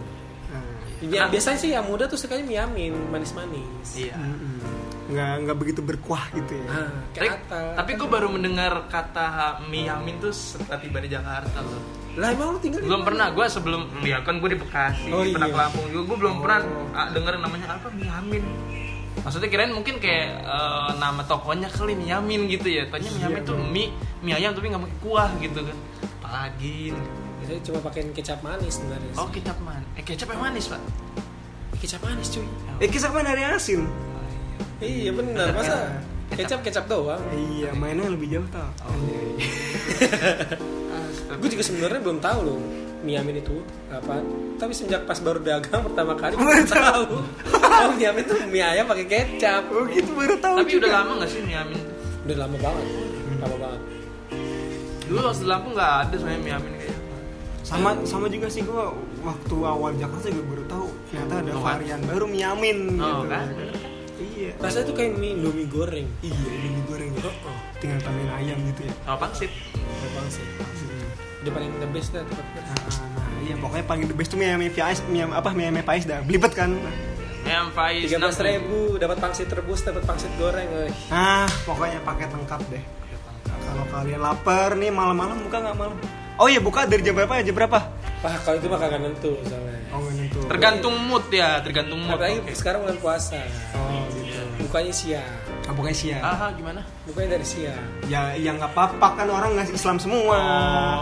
Speaker 2: Nah,
Speaker 3: Ya, biasanya sih yang muda tuh sukanya mie amin, manis-manis.
Speaker 1: Iya.
Speaker 2: mm-mm. Nggak nggak begitu berkuah gitu ya.
Speaker 3: Ah,
Speaker 1: Tapi,
Speaker 3: kayak atal.
Speaker 1: tapi gue baru mendengar kata ha- mie yamin tuh setelah tiba di Jakarta loh.
Speaker 3: Lah emang lu tinggal di
Speaker 1: Belum
Speaker 3: mana?
Speaker 1: pernah gue sebelum ya kan gue di Bekasi,
Speaker 3: Oh,
Speaker 1: pernah
Speaker 3: iya. Oh.
Speaker 1: ke Lampung juga gue belum pernah ah, denger namanya apa mie yamin. Maksudnya kirain mungkin kayak eh, nama tokonya kali mie yamin gitu ya. Tanya
Speaker 3: Iya,
Speaker 1: mie yamin tuh mie mie ayam tapi nggak pakai kuah gitu kan. Apalagi
Speaker 3: Saya cuma pakein kecap manis sebenarnya.
Speaker 1: Oh kecap man, eh kecap yang manis pak.
Speaker 3: Kecap manis cuy.
Speaker 2: Eh, kisah mana dari asin?
Speaker 3: Iya benar, masa kecap kecap doang.
Speaker 2: Iya, mainnya lebih jauh tau.
Speaker 1: Oh, iya. Astaga.
Speaker 3: Gue juga sebenarnya belum tahu loh Miamin itu apa. Tapi semenjak pas baru dagang pertama kali
Speaker 2: Baru
Speaker 3: baru
Speaker 2: tahu.
Speaker 3: tahu. Oh, Miamin tuh mie ayam pakai kecap.
Speaker 2: Oh gitu baru tahu.
Speaker 1: <laughs> Tapi
Speaker 2: juga.
Speaker 1: udah lama gak sih mie yamin? tuh?
Speaker 3: Udah lama banget. Lama banget.
Speaker 1: Dulu waktu di Lampung nggak ada soalnya mie yamin kayaknya.
Speaker 2: sama sama juga sih gua waktu awal Jakarta juga baru tahu ternyata ada
Speaker 1: Oh, kan?
Speaker 2: varian baru mie amin
Speaker 1: Oh,
Speaker 2: gitu.
Speaker 1: kan?
Speaker 2: Iya.
Speaker 3: Rasanya tuh kayak mie indomie goreng.
Speaker 2: Iya, ini goreng ya.
Speaker 3: Oh,
Speaker 2: Tinggal tambahin ayam gitu ya.
Speaker 1: Sama pangsit.
Speaker 3: Memang sih.
Speaker 2: Hmm.
Speaker 3: Udah paling the best dah tempat kita.
Speaker 2: Nah, iya pokoknya paling the best tuh mie ayam mie pais, mie ayam- apa mie ayam mie pais dah belibet kan.
Speaker 1: Yang Faiz
Speaker 3: Tiga ribu dapat pangsit rebus, dapat pangsit goreng. eh. weh.
Speaker 2: Ah, pokoknya paket lengkap deh. Kalau kalian lapar nih malam-malam buka nggak malam? Oh iya buka dari jam berapa ya jam berapa?
Speaker 3: Wah kalau itu mah kagak nentu soalnya.
Speaker 2: Oh nggak nentu.
Speaker 1: Tergantung mood ya, tergantung mood.
Speaker 3: Apalagi
Speaker 1: Oke.
Speaker 3: sekarang bulan puasa.
Speaker 2: Oh gitu.
Speaker 3: Bukanya siang.
Speaker 2: Ah, pokoknya siang.
Speaker 1: Aha, gimana?
Speaker 3: Bukanya dari siang.
Speaker 2: Ya ya nggak apa-apa kan orang nggak Islam semua.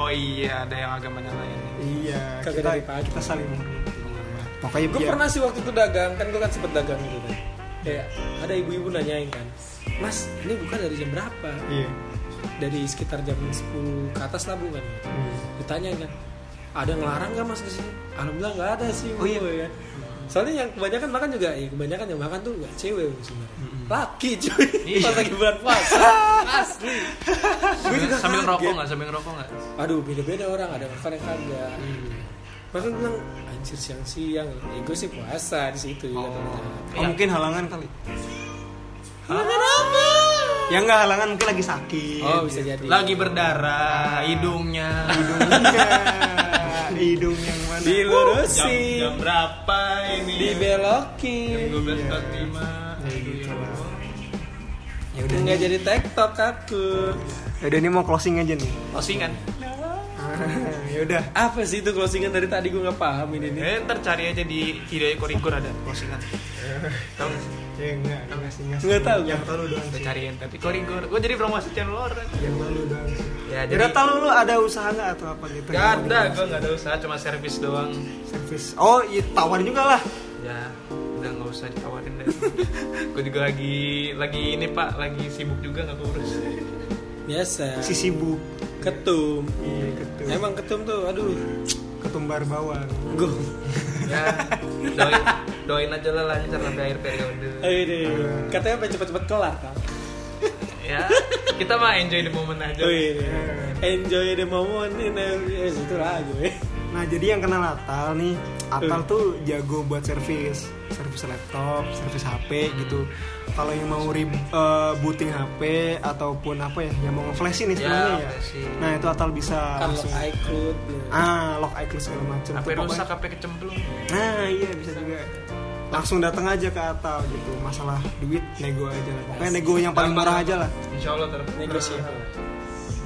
Speaker 1: Oh iya, ada yang agamanya lain.
Speaker 2: Iya.
Speaker 3: Kagak
Speaker 2: Kita
Speaker 3: dari pagi.
Speaker 2: kita saling menghormati. Pokoknya
Speaker 3: Gue
Speaker 2: biar-
Speaker 3: pernah sih waktu itu dagang, kan gue kan sempet dagang gitu kan. Kayak ada ibu-ibu nanyain kan, Mas, ini buka dari jam berapa?
Speaker 2: Iya.
Speaker 3: Dari sekitar jam 10 ke atas lah bukan?
Speaker 2: Hmm.
Speaker 3: Ditanya kan, ada yang ngelarang gak mas kesini? Alhamdulillah nggak ada sih,
Speaker 2: Oh, iya.
Speaker 3: Bu, ya. Soalnya yang kebanyakan makan juga, ya kebanyakan yang makan tuh gak cewek Bu, sebenarnya. Laki cuy,
Speaker 1: Iya.
Speaker 3: pas lagi bulan puasa, asli. Gue juga
Speaker 1: Sambil
Speaker 3: kaget. Oh,
Speaker 1: rokok nggak? Sambil ngerokok nggak?
Speaker 3: Aduh beda-beda orang, ada yang makan yang kagak. Mas kan bilang anjir siang-siang, ya gue sih puasa di situ. ya,
Speaker 1: Oh.
Speaker 3: kata-kata.
Speaker 2: Oh,
Speaker 1: Iya.
Speaker 2: mungkin halangan kali.
Speaker 3: Halangan apa?
Speaker 2: Ya nggak halangan mungkin lagi sakit.
Speaker 3: Oh bisa jadi.
Speaker 1: Iya, Lagi berdarah, hidungnya.
Speaker 2: hidungnya hidung yang mana
Speaker 1: Jam, jam
Speaker 3: <laughs> dilurusin,
Speaker 1: berapa ini? Ya
Speaker 3: dibelokin,
Speaker 1: 12.45.
Speaker 3: Iya,
Speaker 1: Aduh, ya Allah.
Speaker 2: ya udah
Speaker 3: nggak jadi tektok aku.
Speaker 2: ya udah ini mau closing aja nih
Speaker 1: Closing kan?
Speaker 2: ya udah
Speaker 3: Apa sih itu closingan dari tadi gue nggak paham ini nih.
Speaker 1: Eh, ntar cari aja di video Korigor ada
Speaker 3: <laughs>
Speaker 1: postingan. Tahu nggak sih?
Speaker 2: ya enggak ngasih ngasih
Speaker 3: Nggak tahu.
Speaker 2: yang tahu lu doang
Speaker 1: Kita
Speaker 2: sih
Speaker 1: cariin tapi Korigor. Gue jadi promosi channel orang.
Speaker 2: yang tahu lu doang sih
Speaker 1: Ya,
Speaker 2: jadi
Speaker 1: jadi
Speaker 2: tahu lu ada usaha nggak atau apa gitu
Speaker 1: Gak ada, gue gak ada usaha, cuma servis doang
Speaker 2: service oh iya tawarin juga lah
Speaker 1: Ya, udah gak usah ditawarin
Speaker 3: <laughs>
Speaker 1: deh Gue juga lagi, lagi ini pak, lagi sibuk juga gak
Speaker 3: <laughs>
Speaker 1: kurus
Speaker 3: Biasa.
Speaker 2: si sibuk
Speaker 3: Ketum.
Speaker 2: iya ketum
Speaker 3: Nah. Emang ketum tuh, aduh.
Speaker 2: ketumbar bawang
Speaker 3: Gue.
Speaker 1: Ya, doain, doain aja lah lancar sampai akhir periode
Speaker 3: Ayo Oh, iya deh. Katanya pengen cepet-cepet kelar kan.
Speaker 1: Ya, kita mah enjoy the moment aja
Speaker 3: Oh iya. Enjoy the moment in every itu lagu ya.
Speaker 2: Nah jadi yang kena Natal nih Natal
Speaker 3: Eh.
Speaker 2: tuh jago buat servis Servis laptop, servis HP gitu Kalau yang mau re- eh, booting HP Ataupun apa ya Yang mau nge-flashin istilahnya ya,
Speaker 1: Ya, flashing.
Speaker 2: Nah itu Natal bisa
Speaker 3: Kalau
Speaker 2: langsung
Speaker 3: iCloud. ya.
Speaker 2: Ah, lock iCloud segala macam
Speaker 1: HP
Speaker 2: Tuh, pokoknya-
Speaker 1: rusak, HP kecemplung
Speaker 2: Nah iya bisa juga Langsung datang aja ke Atal gitu Masalah duit nego aja lah Pokoknya nego yang paling murah aja lah
Speaker 1: Insya Allah ter
Speaker 3: <laughs> Negosiable.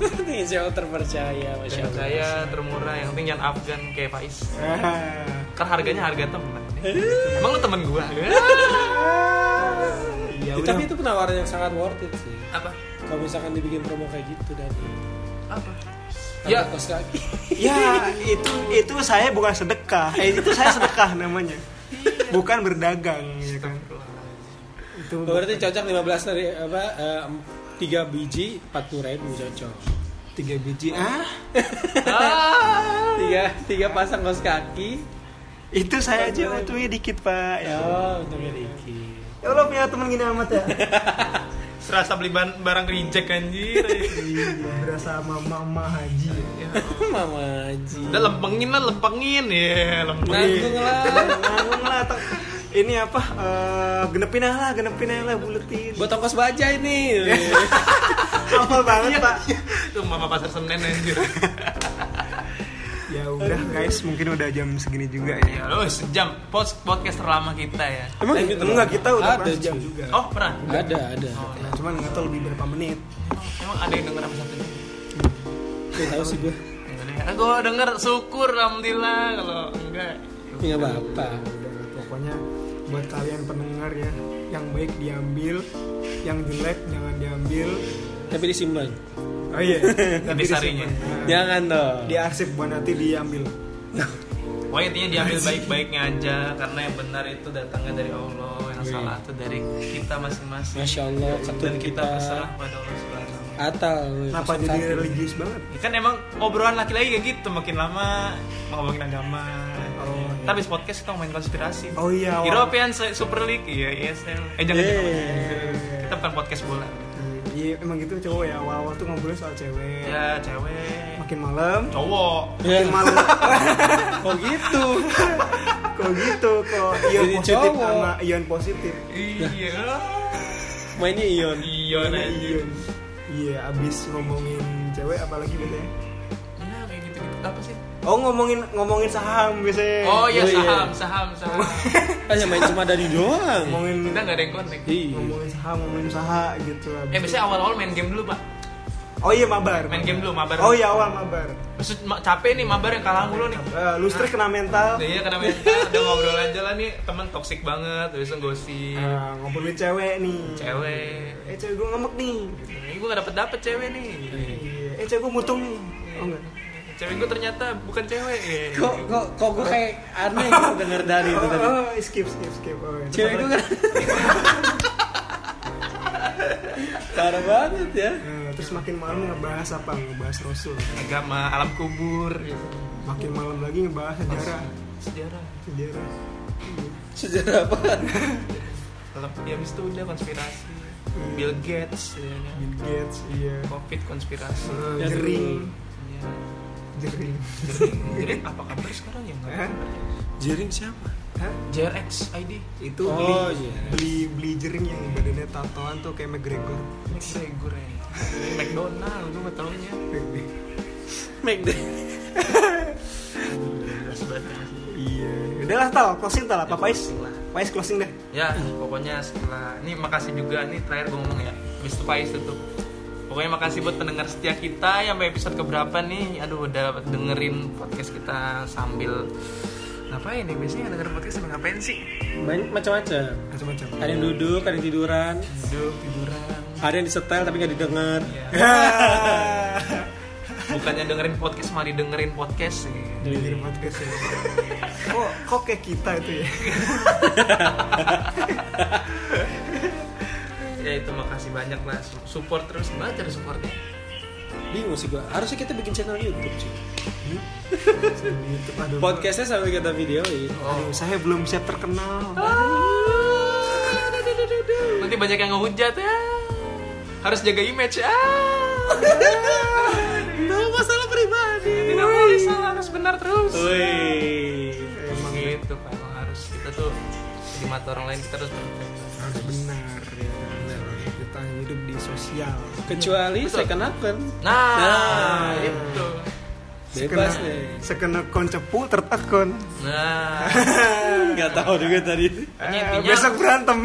Speaker 3: Nih, saya terpercaya, masya Allah.
Speaker 1: Saya termurah, yang penting jangan Afgan kayak Faiz
Speaker 2: Ah,
Speaker 1: Kan harganya harga temen
Speaker 3: Eh.
Speaker 1: Emang lu temen gua?
Speaker 2: Iya
Speaker 3: Ya,
Speaker 2: udah
Speaker 3: tapi itu penawaran yang sangat worth it sih.
Speaker 1: Apa?
Speaker 3: Kalau misalkan dibikin promo kayak gitu dan
Speaker 1: Apa?
Speaker 3: ya
Speaker 1: Ya,
Speaker 3: kos <laughs> kaki.
Speaker 2: Ya itu itu saya bukan sedekah. Eh, itu saya sedekah namanya. Bukan berdagang ya kan.
Speaker 3: <laughs>
Speaker 2: Itu
Speaker 3: Oh, Berarti cocok 15 dari apa eh, tiga biji 40 ribu cocok.
Speaker 2: tiga biji. Ah,
Speaker 1: Ah.
Speaker 3: Tiga tiga pasang kaos kaki.
Speaker 2: itu saya aja untungnya dikit, Pak. Ya.
Speaker 3: Oh, untungnya dikit.
Speaker 2: Ya Allah punya teman gini amat ya.
Speaker 1: Serasa beli ban- barang reject anjir.
Speaker 2: Iya, berasa mama-mama haji. ya.
Speaker 1: Ya.
Speaker 3: <laughs> Mama Haji.
Speaker 1: Udah lempengin lah, lempengin ya, lempengin.
Speaker 3: Nanggung lah.
Speaker 2: Nanggung lah teng- ini apa eh, genepin aja lah, genepin aja lah buletin.
Speaker 3: Buat ongkos baja ini. <laughs>
Speaker 2: Apa banget, Iya, Pak?
Speaker 1: Iya. Tuh mama pasar Senen anjir.
Speaker 2: Ya udah guys, mungkin udah jam segini juga
Speaker 1: ya
Speaker 2: ya.
Speaker 1: lo sejam Pos- podcast terlama kita ya.
Speaker 2: Emang
Speaker 3: Tapi terlalu-
Speaker 2: enggak kita udah
Speaker 3: Ada
Speaker 2: pernah
Speaker 3: jam.
Speaker 2: jam juga.
Speaker 1: Oh, pernah.
Speaker 3: ada, ada.
Speaker 2: Nah, cuman nggak tahu lebih berapa menit.
Speaker 1: Emang ada yang denger sama satu jam?
Speaker 3: Gak tahu sih gue.
Speaker 1: Gue denger syukur alhamdulillah kalau enggak.
Speaker 3: Enggak apa-apa.
Speaker 2: Udah, pokoknya buat kalian pendengar ya yang baik diambil yang jelek jangan diambil
Speaker 3: Tapi disimpan.
Speaker 2: oh <laughs> iya
Speaker 1: Nanti sarinya.
Speaker 2: ya.
Speaker 3: Jangan dong.
Speaker 2: diarsip buat nanti diambil
Speaker 1: Pokoknya intinya diambil baik-baiknya aja karena yang benar itu datangnya dari Allah, yang salah itu dari kita masing-masing.
Speaker 3: Masya Allah, ketun
Speaker 1: Dan kita
Speaker 3: kita
Speaker 1: berserah pada Allah Subhanahu wa
Speaker 3: Atal.
Speaker 2: kenapa jadi religius banget
Speaker 1: Ya kan emang obrolan laki-laki kayak gitu makin lama ngomongin agama.
Speaker 2: Oh, iya.
Speaker 1: Tapi podcast kita ngomongin konspirasi.
Speaker 2: oh iya wah.
Speaker 1: European Se- Super League ya ESL. Eh jangan
Speaker 3: Yeah.
Speaker 1: jangan. Kita bukan podcast bola.
Speaker 2: iya emang gitu cowok ya awal-awal tuh ngobrol soal cewek
Speaker 1: Ya cewek,
Speaker 2: makin malam
Speaker 1: cowok.
Speaker 2: makin malam
Speaker 3: <laughs>
Speaker 2: <laughs>
Speaker 3: Oh gitu.
Speaker 2: kok gitu kok ion
Speaker 3: Jadi
Speaker 2: positif
Speaker 3: cowok.
Speaker 2: sama ion positif
Speaker 1: Iya.
Speaker 3: Mainnya Ion.
Speaker 1: Iya anjir.
Speaker 2: ion iya abis ngomongin cewek apalagi biasanya
Speaker 1: Ya kayak gitu-gitu apa sih?
Speaker 2: oh ngomongin ngomongin saham biasanya
Speaker 1: Oh iya
Speaker 3: Oh, iya.
Speaker 1: saham, saham, saham.
Speaker 3: Hanya Eh, ya main cuma dari doang.
Speaker 2: ngomongin
Speaker 1: Kita nggak ada yang connect.
Speaker 3: Iya.
Speaker 2: ngomongin saham ngomongin usaha gitu
Speaker 1: Eh biasanya awal-awal main game dulu, Pak.
Speaker 2: oh iya mabar
Speaker 1: Main game dulu mabar.
Speaker 2: oh iya awal mabar
Speaker 1: Maksud ma- capek nih mabar yang kalah mulu nih.
Speaker 2: Eh, lustri kena mental
Speaker 1: Iya karena mental udah ngobrol aja lah nih teman toksik banget, terus gosip,
Speaker 2: Eh, ngobrolin cewek nih
Speaker 1: Iya. cewek.
Speaker 2: eh cewek gue ngamuk nih
Speaker 1: Ini gue gak dapet dapet cewek nih.
Speaker 2: Iya. eh cewek gue mutung nih oh enggak
Speaker 1: Cewek gue ternyata bukan cewek. Iya.
Speaker 3: Kok kok kok gue kayak aneh gitu denger dari
Speaker 2: oh,
Speaker 3: itu
Speaker 2: <laughs>
Speaker 3: tadi.
Speaker 2: oh, skip skip skip oh, iya.
Speaker 3: Cewek gue kan. Parah banget ya.
Speaker 2: Eh, terus makin malam ngebahas apa ngebahas rasul
Speaker 1: Agama, alam kubur, gitu.
Speaker 2: makin malam lagi ngebahas sejarah
Speaker 1: sejarah.
Speaker 2: sejarah
Speaker 3: Sejarah apa?
Speaker 1: Alam, ya abis itu udah konspirasi. Bill Gates, ya, kan.
Speaker 2: Bill Gates iya
Speaker 1: Covid konspirasi.
Speaker 2: Eh,
Speaker 3: Ya,
Speaker 2: jering
Speaker 1: Ya.
Speaker 2: jering
Speaker 1: Jadi- Jadi apa kabar sekarang ya? Nggak
Speaker 2: Hah?
Speaker 1: kabar.
Speaker 3: Jering siapa?
Speaker 2: Hah?
Speaker 1: JRX ID.
Speaker 2: itu
Speaker 3: Oh,
Speaker 2: beli,
Speaker 3: iya.
Speaker 2: beli beli jering yang badannya tatoan tuh kayak McGregor
Speaker 1: McGregor ya. McDonald, gue gak taunya.
Speaker 3: McD.
Speaker 2: iya udahlah tal closing tal apa Pais Pais closing deh
Speaker 1: ya pokoknya setelah ini makasih juga nih terakhir gue ngomong ya Mr. Pais tutup Pokoknya makasih buat pendengar setia kita yang sampai episode keberapa nih. Aduh udah dengerin podcast kita sambil ngapain nih biasanya denger podcast sambil ngapain sih?
Speaker 3: Banyak macam-macam.
Speaker 1: Macam-macam.
Speaker 3: Ada yang duduk, ada yang tiduran,
Speaker 1: Duduk tiduran.
Speaker 3: ada yang disetel tapi nggak
Speaker 1: <laughs>
Speaker 3: didengar.
Speaker 1: Bukannya dengerin podcast malah didengerin podcast Iya, sih.
Speaker 3: Jadi,
Speaker 2: <laughs> podcast
Speaker 3: <laughs>
Speaker 2: ya. kok kok kayak kita itu ya
Speaker 1: Ya itu makasih banyak lah Su- support terus gimana cara supportnya?
Speaker 3: bingung sih gua. Harusnya kita bikin channel YouTube sih.
Speaker 2: YouTube aduh
Speaker 3: Podcastnya sampai kita videoin.
Speaker 2: Aduh, saya belum siap terkenal
Speaker 1: Ah. Nanti banyak yang ngehujat ya. Harus jaga image ya.
Speaker 3: Itu masalah pribadi.
Speaker 1: Tidak boleh salah harus benar terus.
Speaker 3: Wih.
Speaker 1: Emang gitu Pak, emang harus kita tuh di mata orang lain kita harus perfect.
Speaker 2: harus Ah, benar ya kita hidup di sosial
Speaker 3: Kecuali
Speaker 1: Betul.
Speaker 3: saya kenakan.
Speaker 1: Nah,
Speaker 3: Nah.
Speaker 1: itu.
Speaker 3: Bebas deh.
Speaker 2: sekena koncepu tertekun
Speaker 1: Nah,
Speaker 3: Nggak tahu juga tadi.
Speaker 1: Hanya intinya-
Speaker 2: Eh, besok <laughs> berantem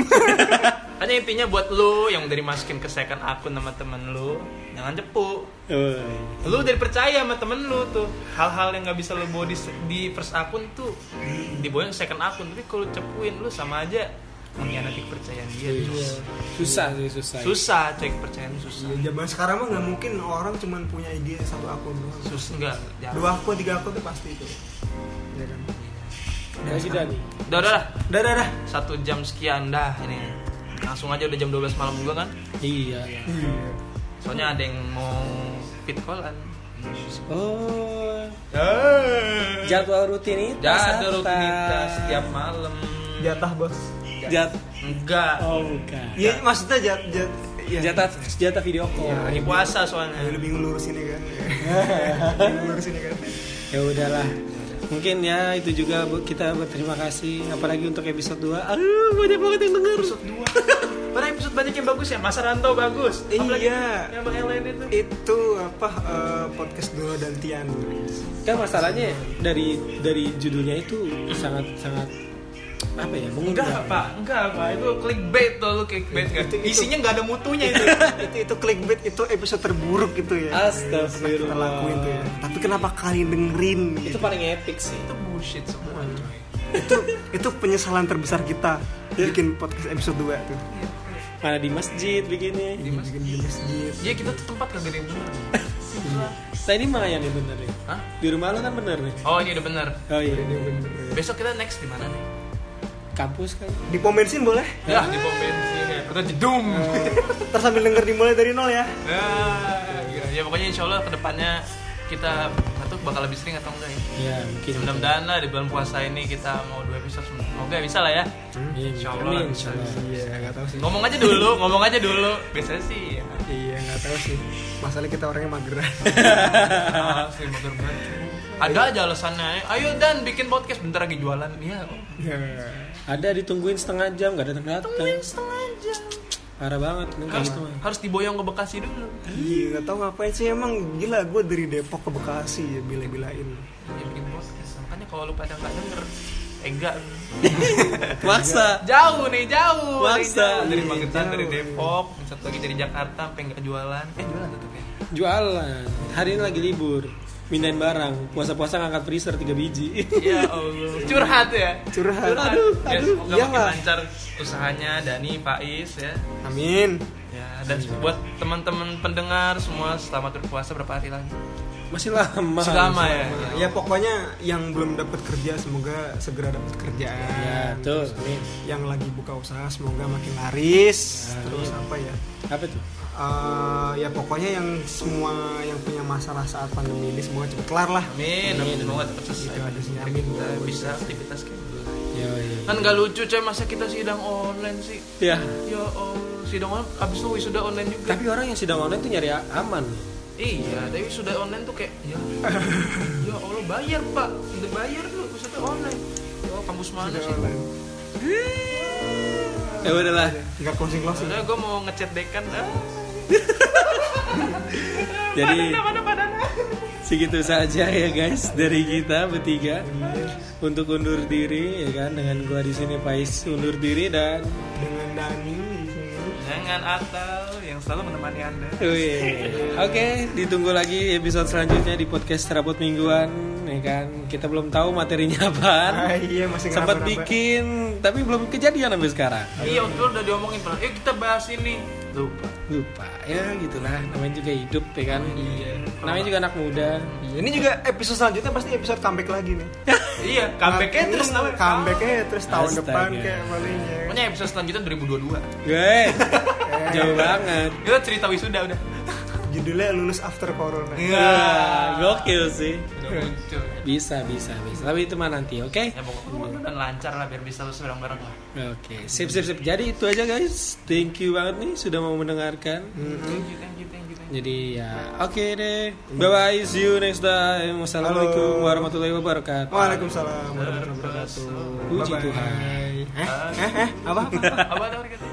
Speaker 1: hanya intinya buat lu yang dari masukin ke second akun sama temen lu, jangan cepu.
Speaker 3: Wih.
Speaker 1: Lu dari percaya sama temen lu tuh hal-hal yang nggak bisa lu bawa di, di first akun tuh dibawa ke second akun. Tapi kalau cepuin lu sama aja mengkhianati kepercayaan dia. cuy.
Speaker 3: Iya. Susah sih susah.
Speaker 1: Susah, coy kepercayaan susah.
Speaker 2: Ya, zaman sekarang mah nggak mungkin orang cuman punya ide satu akun doang
Speaker 1: Susah enggak?
Speaker 2: dua akun tiga akun tuh pasti itu ya kan
Speaker 3: Ya sudah nih.
Speaker 1: Udah, udah lah.
Speaker 2: dah dah dah
Speaker 1: Satu jam sekian dah ini. Langsung aja udah jam 12 malam juga kan?
Speaker 3: Iya.
Speaker 1: Soalnya ada yang mau fit kan. callan.
Speaker 3: Oh. Jadwal rutinitas. apa?
Speaker 1: Jadwal rutinitas setiap malam.
Speaker 2: jatah bos
Speaker 3: Jat.
Speaker 1: Enggak.
Speaker 3: Oh bukan.
Speaker 2: iya maksudnya jat jat ya.
Speaker 3: Jatah jatah video call.
Speaker 2: Iya,
Speaker 1: Lagi puasa soalnya.
Speaker 2: Ya, lu bingung lurus ini <laughs> kan bingung lurus ini kan
Speaker 3: ya udahlah mungkin ya itu juga bu- kita berterima kasih apalagi untuk episode 2 aduh banyak banget yang denger
Speaker 1: Episode 2. Padahal episode banyak yang bagus ya. Masa Rantau bagus. Apalagi
Speaker 2: Iya.
Speaker 1: Yang yang lain itu.
Speaker 2: itu apa eh, podcast Dora dan Tian
Speaker 3: kan masalahnya dari dari judulnya itu sangat sangat apa ya
Speaker 1: Enggak,
Speaker 3: mengundang
Speaker 1: Pak. Enggak, Pak. Itu clickbait tuh lu clickbait kan.
Speaker 2: Itu- itu-
Speaker 1: Isinya enggak ada mutunya itu.
Speaker 2: itu itu clickbait itu episode terburuk itu ya Pernah kita lakuin tuh ya
Speaker 3: astagfirullah
Speaker 2: tapi kenapa kalian dengerin
Speaker 3: itu
Speaker 2: gitu?
Speaker 3: paling epic sih
Speaker 1: itu bullshit semua, coy.
Speaker 2: itu itu penyesalan terbesar kita bikin podcast episode 2 tuh
Speaker 3: mana di masjid begini
Speaker 2: di masjid di masjid
Speaker 1: Iya, kita tuh tempat kagak ada yang bener.
Speaker 3: nah ini Maya nih bener nih
Speaker 1: Hah?
Speaker 3: di rumah lo kan bener nih
Speaker 1: Oh, ini udah bener.
Speaker 3: oh iya
Speaker 1: Besok kita next di mana nih?
Speaker 3: kampus kan
Speaker 2: di pom bensin boleh
Speaker 1: Ya, di pom bensin ya. Kita jedum.
Speaker 2: terus sambil denger dimulai dari nol ya
Speaker 1: Nah, ya pokoknya insya Allah kedepannya kita nggak tahu bakal lebih sering atau enggak ya.
Speaker 3: ya mungkin
Speaker 1: Mudah-mudahan lah di bulan puasa ini kita mau dua episode semoga bisa lah ya.
Speaker 3: Iya,
Speaker 1: Insya Allah,
Speaker 3: amin,
Speaker 1: insya
Speaker 3: Allah.
Speaker 2: iya nggak tahu sih
Speaker 1: Ngomong aja dulu, ngomong aja dulu. Biasanya <laughs> sih ya.
Speaker 2: iya nggak tahu sih masalah kita orangnya mageran
Speaker 1: Ah, sering mager banget. Ada aja alasannya. Ayo Dan bikin podcast bentar lagi jualan. Iya. oh.
Speaker 2: ya.
Speaker 3: ada ditungguin setengah jam nggak datang datang
Speaker 1: Setengah jam. Ah.
Speaker 3: parah banget gitu, nih
Speaker 1: Harus,
Speaker 3: kampus mah.
Speaker 1: Kan harus diboyong ke Bekasi dulu.
Speaker 2: iya nggak tahu ngapain sih emang gila gue dari Depok ke Bekasi ya bila-bilain
Speaker 1: Ya bikin podcast. Makanya kalau lu pada nggak denger, eh <laughs> enggak.
Speaker 3: maksa
Speaker 1: Jauh nih, jauh.
Speaker 3: Maksa.
Speaker 1: Dari jauh. Dari
Speaker 2: Iya,
Speaker 1: Magetan, dari
Speaker 2: jauh.
Speaker 1: Depok, satu lagi dari Jakarta, sampai nggak jualan. Eh jualan tetap <laughs> ya.
Speaker 3: Jualan. Hari ini lagi libur. Mindahin barang. Puasa-puasa ngangkat freezer 3 biji. <laughs>
Speaker 1: Ya Allah. Curhat ya.
Speaker 2: curhat
Speaker 1: Aduh, ya,
Speaker 2: aduh,
Speaker 1: semoga makin
Speaker 2: iyalah.
Speaker 1: lancar usahanya Dani, Faiz ya.
Speaker 2: amin
Speaker 1: Ya, dan buat teman-teman pendengar semua selamat berpuasa berapa hari lagi?
Speaker 3: Masih lama.
Speaker 1: Masih lama ya.
Speaker 2: ya pokoknya yang belum dapat kerja semoga segera dapat kerjaan
Speaker 3: Ya, tuh. Amin.
Speaker 2: yang lagi buka usaha semoga makin laris
Speaker 3: Amin.
Speaker 2: terus apa ya
Speaker 3: Apa tuh?
Speaker 2: Eh, ya pokoknya yang semua yang punya masalah saat pandemi ini semoga cepat kelar lah
Speaker 1: Amin. Amin. Semoga cepat selesai.
Speaker 2: Itu ada sih,
Speaker 1: Biar
Speaker 2: amin.
Speaker 1: Kita bisa aktivitas kayak dulu.
Speaker 3: Ya, ya.
Speaker 1: Kan nggak lucu coy masa kita sidang online sih.
Speaker 3: Ya.
Speaker 1: Ya Allah, sidang online abis itu wisuda online juga.
Speaker 3: Tapi orang yang sidang online tuh nyari a- aman.
Speaker 1: Iya, tapi sudah online tuh kayak <laughs> ya, ya Allah bayar pak, udah bayar lu, maksudnya online. Oh, kampus mana sih? Hmm.
Speaker 3: Ya udahlah.
Speaker 2: nggak closing closing
Speaker 1: Sebenarnya gue mau ngechat dekan <laughs> dah.
Speaker 3: Jadi
Speaker 1: Mana padana?
Speaker 3: segitu saja ya guys dari kita bertiga untuk undur diri ya kan dengan gua di sini Pais undur diri dan
Speaker 2: dengan Dani di sini
Speaker 1: Yang dengan Atal yang selalu menemani Anda.
Speaker 3: Wih. Oke, ditunggu lagi episode selanjutnya di podcast Serabut Mingguan, ya kan? Kita belum tahu materinya <laughs> apaan.
Speaker 2: Ah, iya, masih
Speaker 3: Sempat
Speaker 2: ngeraba-ngeraba.
Speaker 3: bikin, tapi belum kejadian sampai sekarang.
Speaker 1: Iya, waktu itu udah diomongin pernah. Yuk kita bahas ini. Lupa.
Speaker 3: Lupa, ya gitulah. Namanya juga hidup, ya kan?
Speaker 1: Iya.
Speaker 3: Namanya juga anak muda.
Speaker 2: Iya, ini juga episode selanjutnya pasti episode comeback lagi nih.
Speaker 1: iya, comeback-nya
Speaker 2: Ini
Speaker 1: terus namanya.
Speaker 2: comebacknya terus tahun
Speaker 3: Astaga.
Speaker 2: depan kayak ya. malingnya.
Speaker 1: Pokoknya episode selanjutnya 2022.
Speaker 3: Guys, Eh, jauh banget.
Speaker 1: Kita cerita wisuda udah.
Speaker 2: Judulnya lulus after corona.
Speaker 3: Iya.
Speaker 1: Iya.
Speaker 3: Wah, gokil sih.
Speaker 1: Udah muncul.
Speaker 3: Bisa, bisa, bisa. Tapi itu mah nanti, oke?
Speaker 1: Ya pokoknya kan lancar lah biar bisa terus bareng-bareng lah.
Speaker 3: Oke, sip, sip, sip. Jadi itu aja guys. Thank you banget nih sudah mau mendengarkan.
Speaker 1: Thank you, thank you, thank you. thank you.
Speaker 3: Jadi ya oke deh. Bye bye. See you next time. Wassalamualaikum
Speaker 2: Halo.
Speaker 3: warahmatullahi wabarakatuh.
Speaker 2: Waalaikumsalam warahmatullahi
Speaker 1: Terus,
Speaker 2: wabarakatuh.
Speaker 3: Puji
Speaker 2: Bye-bye.
Speaker 3: Tuhan.
Speaker 2: Eh, eh, eh, apa?
Speaker 1: apa tadi kata?